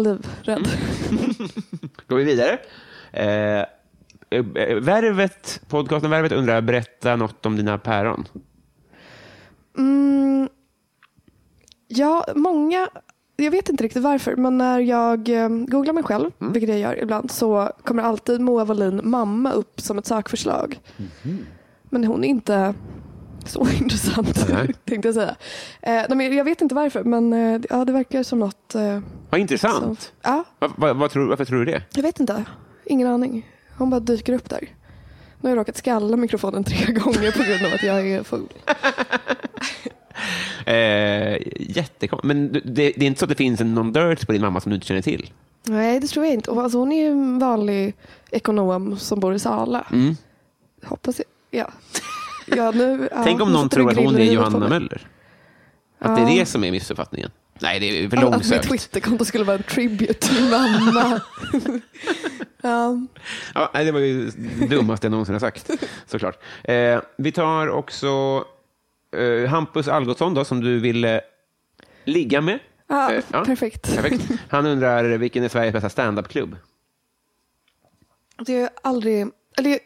Speaker 3: livrädd.
Speaker 2: Går vi vidare? Eh, eh, eh, Värvet, podcasten Värvet undrar, berätta något om dina päron.
Speaker 3: Mm, ja, många, jag vet inte riktigt varför, men när jag eh, googlar mig själv, vilket jag gör ibland, så kommer alltid Moa Wallin mamma upp som ett sökförslag. Men hon är inte så *laughs* intressant,
Speaker 2: Nej.
Speaker 3: *laughs* tänkte jag säga. Eh, nej, men jag vet inte varför, men eh, ja, det verkar som något... Eh,
Speaker 2: Vad
Speaker 3: som,
Speaker 2: intressant.
Speaker 3: ja,
Speaker 2: Va, va, vad tror, varför tror du det?
Speaker 3: jag vet inte. Ingen aning. Hon bara dyker upp där. Nu har jag råkat skalla mikrofonen tre *laughs* gånger på grund av att jag är full.
Speaker 2: Eh, jättekonstigt. Men du- det, det är inte så att det finns en- någon dirt på din mamma som du inte känner till?
Speaker 3: Nej, det tror jag inte. Och Alltså, hon är ju en vanlig ekonom som bor i Sala.
Speaker 2: Mm.
Speaker 3: Hoppas jag. Ja. Ja,
Speaker 2: *laughs*
Speaker 3: nu, ja,
Speaker 2: Tänk om
Speaker 3: nu
Speaker 2: någon
Speaker 3: sätter du
Speaker 2: tror att hon
Speaker 3: griller i
Speaker 2: är
Speaker 3: huvudet på
Speaker 2: Johanna
Speaker 3: mig.
Speaker 2: Möller. Att det är det som är missuppfattningen. Nej, det är för
Speaker 3: Att alltså, mitt
Speaker 2: långsökt.
Speaker 3: Twitterkonto skulle vara en tribute till
Speaker 2: *laughs*
Speaker 3: mamma. ja.
Speaker 2: Ja, nej, det var ju det dummaste jag någonsin har sagt, såklart. Eh, vi tar också eh, Hampus Algotsson då, som du ville ligga med.
Speaker 3: Ja,
Speaker 2: Eh,
Speaker 3: perfekt.
Speaker 2: perfekt. Han undrar vilken är Sveriges bästa standup-klubb?
Speaker 3: Det är aldrig... Eller, jag-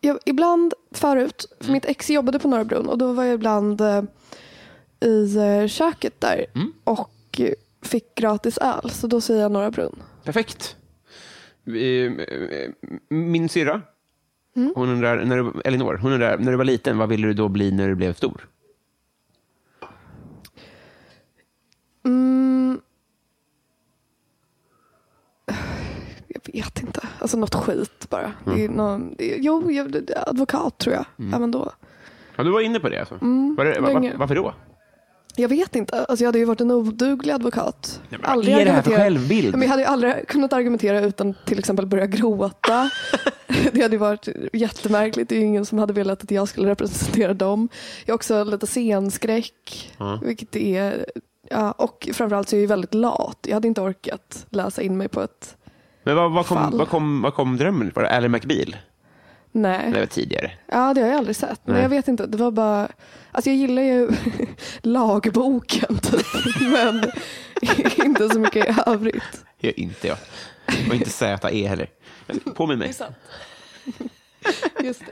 Speaker 3: jag, ibland förut,
Speaker 2: Mm.
Speaker 3: för mitt ex jobbade på Norra Brunn och då var jag ibland eh, i eh, köket där
Speaker 2: Mm.
Speaker 3: och eh, fick gratis öl. Så då säger jag Norra Brunn.
Speaker 2: Perfekt. Eh, eh, Min syrra
Speaker 3: Mm.
Speaker 2: Hon undrar, när du, Elinor, hon undrar, när du var liten, vad ville du då bli när du blev stor?
Speaker 3: Mm. *sighs* Jag vet inte. Alltså något skit bara. Det är någon, det är, jo, jag, det- advokat tror jag. Även då.
Speaker 2: Ja, du var inne på det alltså. var det, va, va,
Speaker 3: Mm, länge.
Speaker 2: varför då?
Speaker 3: Jag vet inte. Alltså jag hade ju varit en oduglig advokat.
Speaker 2: Nej, men vad är det här för
Speaker 3: argumentera-
Speaker 2: självbild?
Speaker 3: Nej, Men jag hade ju aldrig kunnat argumentera utan till exempel
Speaker 2: *laughs*
Speaker 3: börja gråta. det hade ju varit jättemärkligt. Det är ju ingen som hade velat att jag skulle representera dem. Jag har också lite scenskräck. Vilket är, ja, och framförallt så är jag ju väldigt lat. Jag hade inte orkat läsa in mig på ett
Speaker 2: Men vad, vad, kom,
Speaker 3: Fall.
Speaker 2: vad, kom, vad kom drömmen? Var det Ally McBeal?
Speaker 3: nej.
Speaker 2: Det var tidigare.
Speaker 3: Ja, det har jag aldrig sett. Men
Speaker 2: Nej.
Speaker 3: jag vet inte. Det var bara... Alltså jag gillar ju *laughs* lagboken typ.
Speaker 2: *laughs*
Speaker 3: Men inte så mycket i övrigt.
Speaker 2: Jag, inte jag. Och inte Z-E heller. Påminn mig.
Speaker 3: *laughs* Just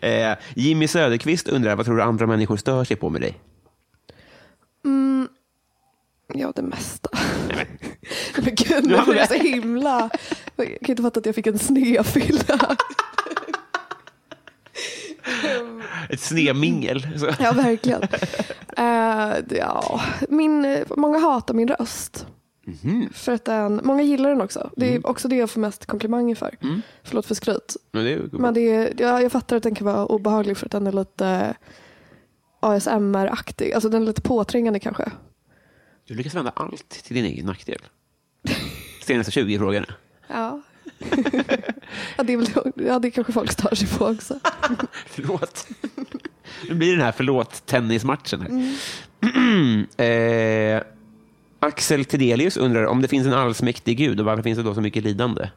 Speaker 3: det.
Speaker 2: Eh, Jimmy Söderqvist undrar, vad tror du andra människor stör sig på med dig?
Speaker 3: Mm. Ja, det mesta. *laughs* Men gud, nu blir jag så himla... Jag kan inte fatta att jag fick en *laughs* snedfylla.
Speaker 2: Ett snemingel. Så.
Speaker 3: Ja, verkligen. Eh, ja. Min, många hatar min röst. För att den, många gillar den också. Det är också det jag får mest komplimanger för. Förlåt för skryt.
Speaker 2: Men det är ju-
Speaker 3: Men det är, jag, jag fattar att den kan vara obehaglig för att den är lite ASMR-aktig. Alltså den är lite påträngande kanske.
Speaker 2: Du lyckas vända allt till din egen nackdel. Senaste 20 frågorna.
Speaker 3: Ja. *laughs* ja, det är väl, ja, det kanske folk stör sig på också.
Speaker 2: Förlåt. *laughs* Nu blir det den här förlåt-tennismatchen. här.
Speaker 3: Mm.
Speaker 2: *clears throat* eh, Axel Tidelius undrar om det finns en allsmäktig gud och varför finns det då så mycket lidande?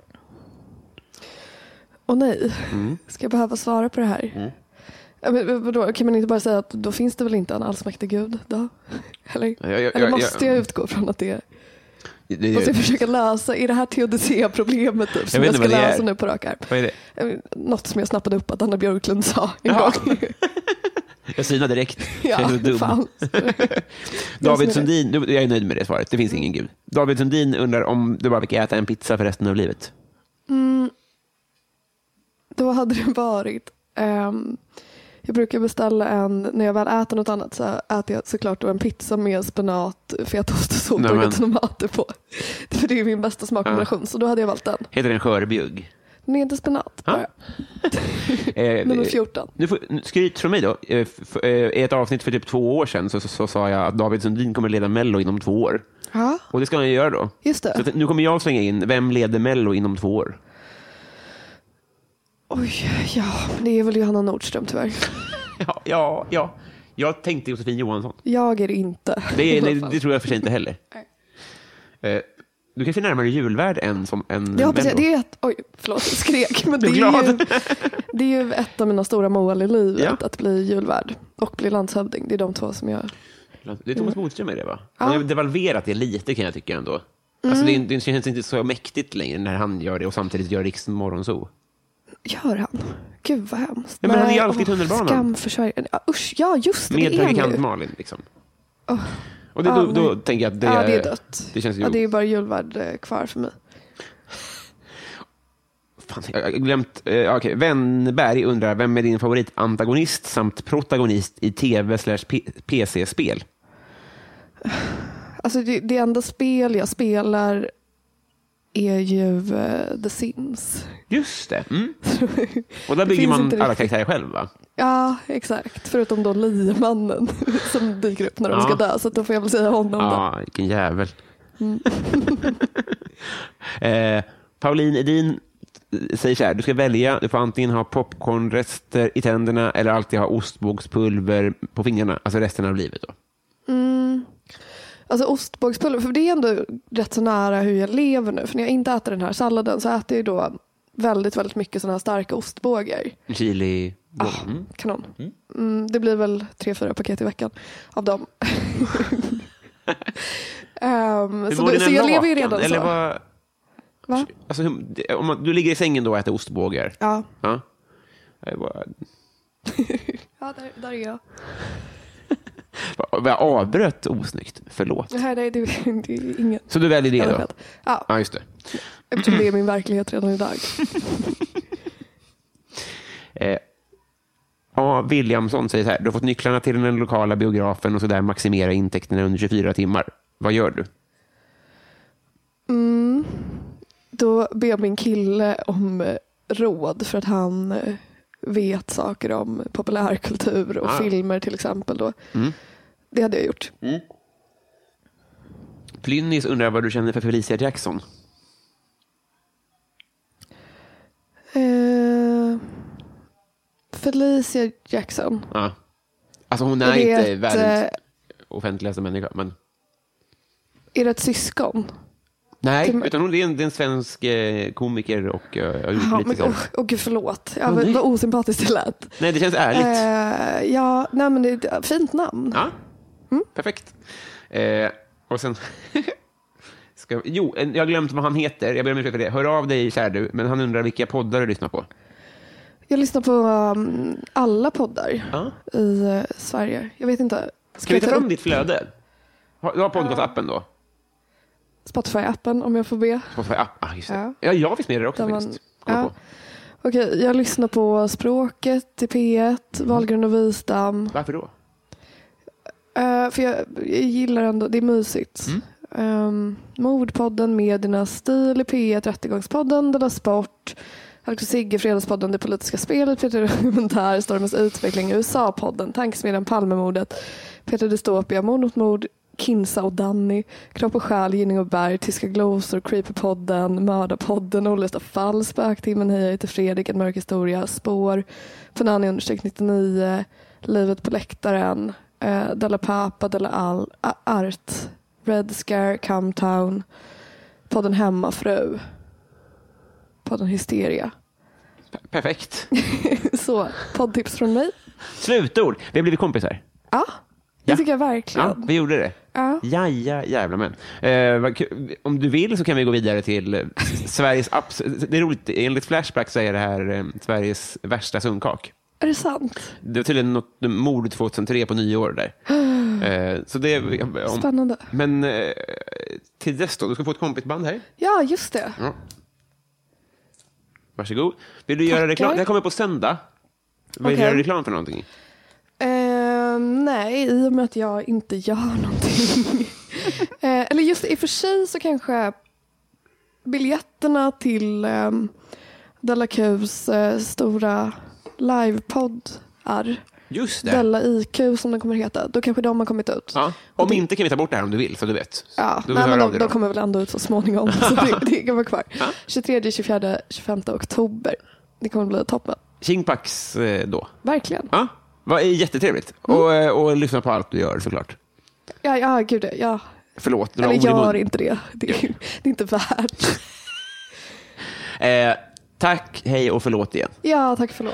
Speaker 3: Och nej,
Speaker 2: Mm.
Speaker 3: ska jag behöva svara på det här? Ja, men, men vadå, kan man inte bara säga att då finns det väl inte en allsmäktig gud? Då? *laughs* Eller,
Speaker 2: Ja, ja, ja,
Speaker 3: eller
Speaker 2: ja,
Speaker 3: måste
Speaker 2: ja.
Speaker 3: jag utgå från att det är...
Speaker 2: Det,
Speaker 3: Måste jag försöka lösa? Är det här teodicea-problemet typ, som
Speaker 2: vet
Speaker 3: jag,
Speaker 2: inte
Speaker 3: ska
Speaker 2: vad det är.
Speaker 3: lösa nu på rak arm?
Speaker 2: vad är det?
Speaker 3: Eh, Något som jag snappade upp att Anna Björklund sa en
Speaker 2: Jaha. *laughs*
Speaker 3: gång.
Speaker 2: Jag synar direkt. jag är
Speaker 3: *laughs* Ja,
Speaker 2: så dum.
Speaker 3: fan.
Speaker 2: *laughs* David
Speaker 3: Jag synar
Speaker 2: Sundin, du- jag är nöjd med det svaret. Det finns ingen gud. David Sundin undrar om du bara fick äta en pizza för resten av livet.
Speaker 3: Mm. Då hade det varit. ehm, jag brukar beställa en, när jag väl äter något annat så äter jag såklart då en pizza med spenat, fetaost och
Speaker 2: Nej, men-
Speaker 3: soltorkade tomater på. *laughs* För det är min bästa smakkombination så då hade jag valt den.
Speaker 2: Heter den skörbjugg?
Speaker 3: Den är inte spenat
Speaker 2: Ja.
Speaker 3: bara.
Speaker 2: Eh,
Speaker 3: *laughs* Nummer
Speaker 2: eh,
Speaker 3: 14.
Speaker 2: Nu får, nu- skryt från mig då. Eh, f- eh, I ett avsnitt för typ två år sedan så, så, så sa jag att David Sundin kommer leda Mello inom två år.
Speaker 3: Ja,
Speaker 2: Och det ska han ju göra då.
Speaker 3: just
Speaker 2: Så
Speaker 3: det.
Speaker 2: att, nu kommer jag slänga in, vem leder Mello inom två år?
Speaker 3: Oj, ja, det är väl Johanna Nordström tyvärr.
Speaker 2: *laughs* Ja, ja, ja. Jag tänkte Josefin Johansson.
Speaker 3: Jag är det inte.
Speaker 2: Det,
Speaker 3: *laughs* i
Speaker 2: är,
Speaker 3: alla
Speaker 2: nej,
Speaker 3: fall.
Speaker 2: det tror jag för sig inte heller. Eh, du kanske är närmare julvärd än som en
Speaker 3: Det hoppas jag.
Speaker 2: Mello.
Speaker 3: Det är ett, oj, förlåt, jag skrek. Men det,
Speaker 2: Du är
Speaker 3: är
Speaker 2: glad.
Speaker 3: ju, det är ju ett av mina stora mål i livet.
Speaker 2: Ja.
Speaker 3: Att bli julvärd och bli landshövding. Det är de två som jag...
Speaker 2: Det är Thomas Bodström i det, va? Han har devalverat det lite, kan jag tycka. ändå. Alltså, det, är- det känns inte så mäktigt längre när han gör det och samtidigt gör Riks Morgonzoo.
Speaker 3: Gör han? Gud vad hemskt.
Speaker 2: Ja, men han är ju
Speaker 3: Nej,
Speaker 2: alltid i
Speaker 3: åh,
Speaker 2: tunnelbanan.
Speaker 3: Skam för Sverige. Ja, usch, ja just det.
Speaker 2: Med
Speaker 3: det är han
Speaker 2: predikant
Speaker 3: ju.
Speaker 2: Malin. Liksom. Och det, då,
Speaker 3: Ah,
Speaker 2: då
Speaker 3: nej.
Speaker 2: tänker jag att det,
Speaker 3: ja, det är dött.
Speaker 2: Det känns ju...
Speaker 3: ja, det är bara julvärd eh, kvar för mig.
Speaker 2: Fan, jag har glömt. Eh, okej. Wennberg undrar, vem är din favoritantagonist samt protagonist i tv slash P- PC-spel?
Speaker 3: Alltså, det, det enda spel jag spelar är ju eh, The Sims.
Speaker 2: Just det. Mm. Och där bygger
Speaker 3: finns
Speaker 2: man
Speaker 3: inte
Speaker 2: alla
Speaker 3: riktigt.
Speaker 2: karaktärer själv, va?
Speaker 3: Ja, exakt. Förutom då liemannen *laughs* som dyker upp när de
Speaker 2: Ja.
Speaker 3: ska dö. Så att då får jag väl säga honom då.
Speaker 2: Ja, vilken jävel.
Speaker 3: Mm.
Speaker 2: *laughs* eh, Pauline Edin säger så här, du ska välja, du får antingen ha popcornrester i tänderna eller alltid ha ostbågspulver på fingrarna, alltså resten av livet. Då.
Speaker 3: Mm. Alltså ostbågspulver, för det är ändå rätt så nära hur jag lever nu. För när jag inte äter den här salladen så äter jag ju då väldigt, väldigt mycket sådana här starka ostbågar.
Speaker 2: Chili.
Speaker 3: Ah.
Speaker 2: Mm.
Speaker 3: Kanon. Mm, det blir väl tre, fyra paket i veckan av dem.
Speaker 2: *laughs*
Speaker 3: Ehm,
Speaker 2: Hur
Speaker 3: så
Speaker 2: mår
Speaker 3: då,
Speaker 2: dina
Speaker 3: så jag lever ju
Speaker 2: lakan?
Speaker 3: redan
Speaker 2: eller
Speaker 3: så.
Speaker 2: Vad,
Speaker 3: Va?
Speaker 2: alltså, hur- om man, du ligger i sängen då och äter ostbågar?
Speaker 3: Ja,
Speaker 2: Ja. Det var-
Speaker 3: ja där, där är jag.
Speaker 2: vad Jag avbröt osnyggt, förlåt.
Speaker 3: Det här nej, det, är- det är ingen.
Speaker 2: Så du väljer det
Speaker 3: Jag
Speaker 2: då?
Speaker 3: vet. Ja,
Speaker 2: Ja, just det.
Speaker 3: eftersom det är min verklighet redan idag.
Speaker 2: Eh, A. Williamson säger så här. Du har fått nycklarna till den lokala biografen och så där maximera intäkterna under 24 timmar. Vad gör du?
Speaker 3: Mm. Då ber jag min kille om eh, råd för att han eh, vet saker om populärkultur och
Speaker 2: Ah. Mm.
Speaker 3: filmer till exempel. Då. Det hade jag gjort.
Speaker 2: Plynnis undrar vad du känner för Felicia Jackson.
Speaker 3: Eh, Felicia Jackson.
Speaker 2: Ja. Alltså hon är
Speaker 3: det
Speaker 2: inte
Speaker 3: ett,
Speaker 2: världens
Speaker 3: eh,
Speaker 2: offentligaste människa. Men...
Speaker 3: Är det ett syskon?
Speaker 2: Mm, Nej,
Speaker 3: till-
Speaker 2: utan hon det är en, det är en svensk eh, komiker och eh, har gjort
Speaker 3: Ja,
Speaker 2: lite
Speaker 3: men,
Speaker 2: sådär.
Speaker 3: åh, åh, gud, förlåt. Ja,
Speaker 2: Åh, nej.
Speaker 3: vad, vad osympatiskt det lät.
Speaker 2: Nej, det känns ärligt.
Speaker 3: Eh, ja, nej, men det är ett fint namn.
Speaker 2: Ja,
Speaker 3: Mm.
Speaker 2: perfekt. Eh, och sen... *laughs* Ska, jo, en- jag har glömt vad han heter. Jag ber om ursäkt för det. Hör av dig, kär du. Men han undrar vilka poddar du lyssnar på.
Speaker 3: Jag lyssnar på um, alla poddar
Speaker 2: Ja.
Speaker 3: i eh, Sverige. Jag vet inte. Ska
Speaker 2: Ska vi ta fram
Speaker 3: upp
Speaker 2: ditt flöde? Har- Du har podcastappen då?
Speaker 3: Spotify-appen om jag får be?
Speaker 2: Spotify app. Ah, just det.
Speaker 3: Ja.
Speaker 2: Ja, jag finns med där också
Speaker 3: Där man-
Speaker 2: faktiskt. Kom
Speaker 3: ja.
Speaker 2: på.
Speaker 3: Okej, jag lyssnar på Språket i P1,
Speaker 2: Mm.
Speaker 3: Wahlgren och Wistam.
Speaker 2: Varför då?
Speaker 3: Eh, för jag, jag gillar ändå, det är mysigt.
Speaker 2: Mm.
Speaker 3: Ehm, Mordpodden, Mediernas stil i P1, Rättegångspodden, Della Sport, Alex och Sigge, Fredagspodden, Det politiska spelet, Peter Dokumentär, Stormens utveckling, USA-podden, Tankesmedjan, Palmemordet, Peter Dystopia, Mord mot mord, Kinsa och Danny, Kropp och själ, Gynning och Berg, Tyska glosor, Creeperpodden, Mördarpodden, Olösta fall, Spöktimmen, Hej jag heter Fredrik, En mörk historia, Spår, Fanani understreck 99, Livet på läktaren, eh, Della Papa, Della All, A- Art, Red Scare, Come Town, podden Hemmafru, podden Hysteria. *laughs*
Speaker 2: Per- Perfekt. *laughs*
Speaker 3: Så, poddtips från mig.
Speaker 2: Slutord. Vi har blivit kompisar.
Speaker 3: Ja, det
Speaker 2: Ja.
Speaker 3: tycker jag
Speaker 2: Ja,
Speaker 3: verkligen.
Speaker 2: vi gjorde det.
Speaker 3: Ja.
Speaker 2: Jaja, jävla män. Eh, vad kul. om du vill så kan vi gå vidare till eh, Sveriges... abs- Det är roligt, enligt Flashback så är det här eh, Sveriges värsta sundkak.
Speaker 3: Är det sant?
Speaker 2: Det var tydligen något mord 2003 på nyår
Speaker 3: *gasps*
Speaker 2: där. Eh, så det, om,
Speaker 3: Spännande.
Speaker 2: Men eh, till dess då, du ska få ett kompisband här.
Speaker 3: Ja, just det.
Speaker 2: Ja. Varsågod. Vill du göra
Speaker 3: Tackar.
Speaker 2: reklam? Det här kommer på söndag. Vill du
Speaker 3: Okej.
Speaker 2: göra reklam för någonting?
Speaker 3: Eh, nej, i och med att jag inte gör *laughs* någonting. eh, eller just i och för sig så kanske biljetterna till eh, Della Qs eh, stora livepodd är
Speaker 2: Just det.
Speaker 3: Della IQ som den kommer heta. Då kanske de har kommit ut.
Speaker 2: Ja. Om inte kan vi ta bort det här om du vill, så du vet.
Speaker 3: Ja,
Speaker 2: Du
Speaker 3: nej,
Speaker 2: hör
Speaker 3: men
Speaker 2: av
Speaker 3: de,
Speaker 2: dig
Speaker 3: de
Speaker 2: då.
Speaker 3: kommer väl ändå ut så småningom.
Speaker 2: *laughs*
Speaker 3: så det, det kan vara kvar. 23, 24, 25 oktober. Det kommer bli toppen.
Speaker 2: Tjingpax eh, då.
Speaker 3: Verkligen.
Speaker 2: Ja, vad är jättetrevligt.
Speaker 3: Mm.
Speaker 2: Och, eh, och lyssna på allt du gör såklart.
Speaker 3: Ja, ja gud ja.
Speaker 2: Förlåt, några
Speaker 3: Eller
Speaker 2: ord i mun.
Speaker 3: gör inte det. Det är, det är inte värt.
Speaker 2: Eh, tack, hej och förlåt igen.
Speaker 3: Ja, tack förlåt.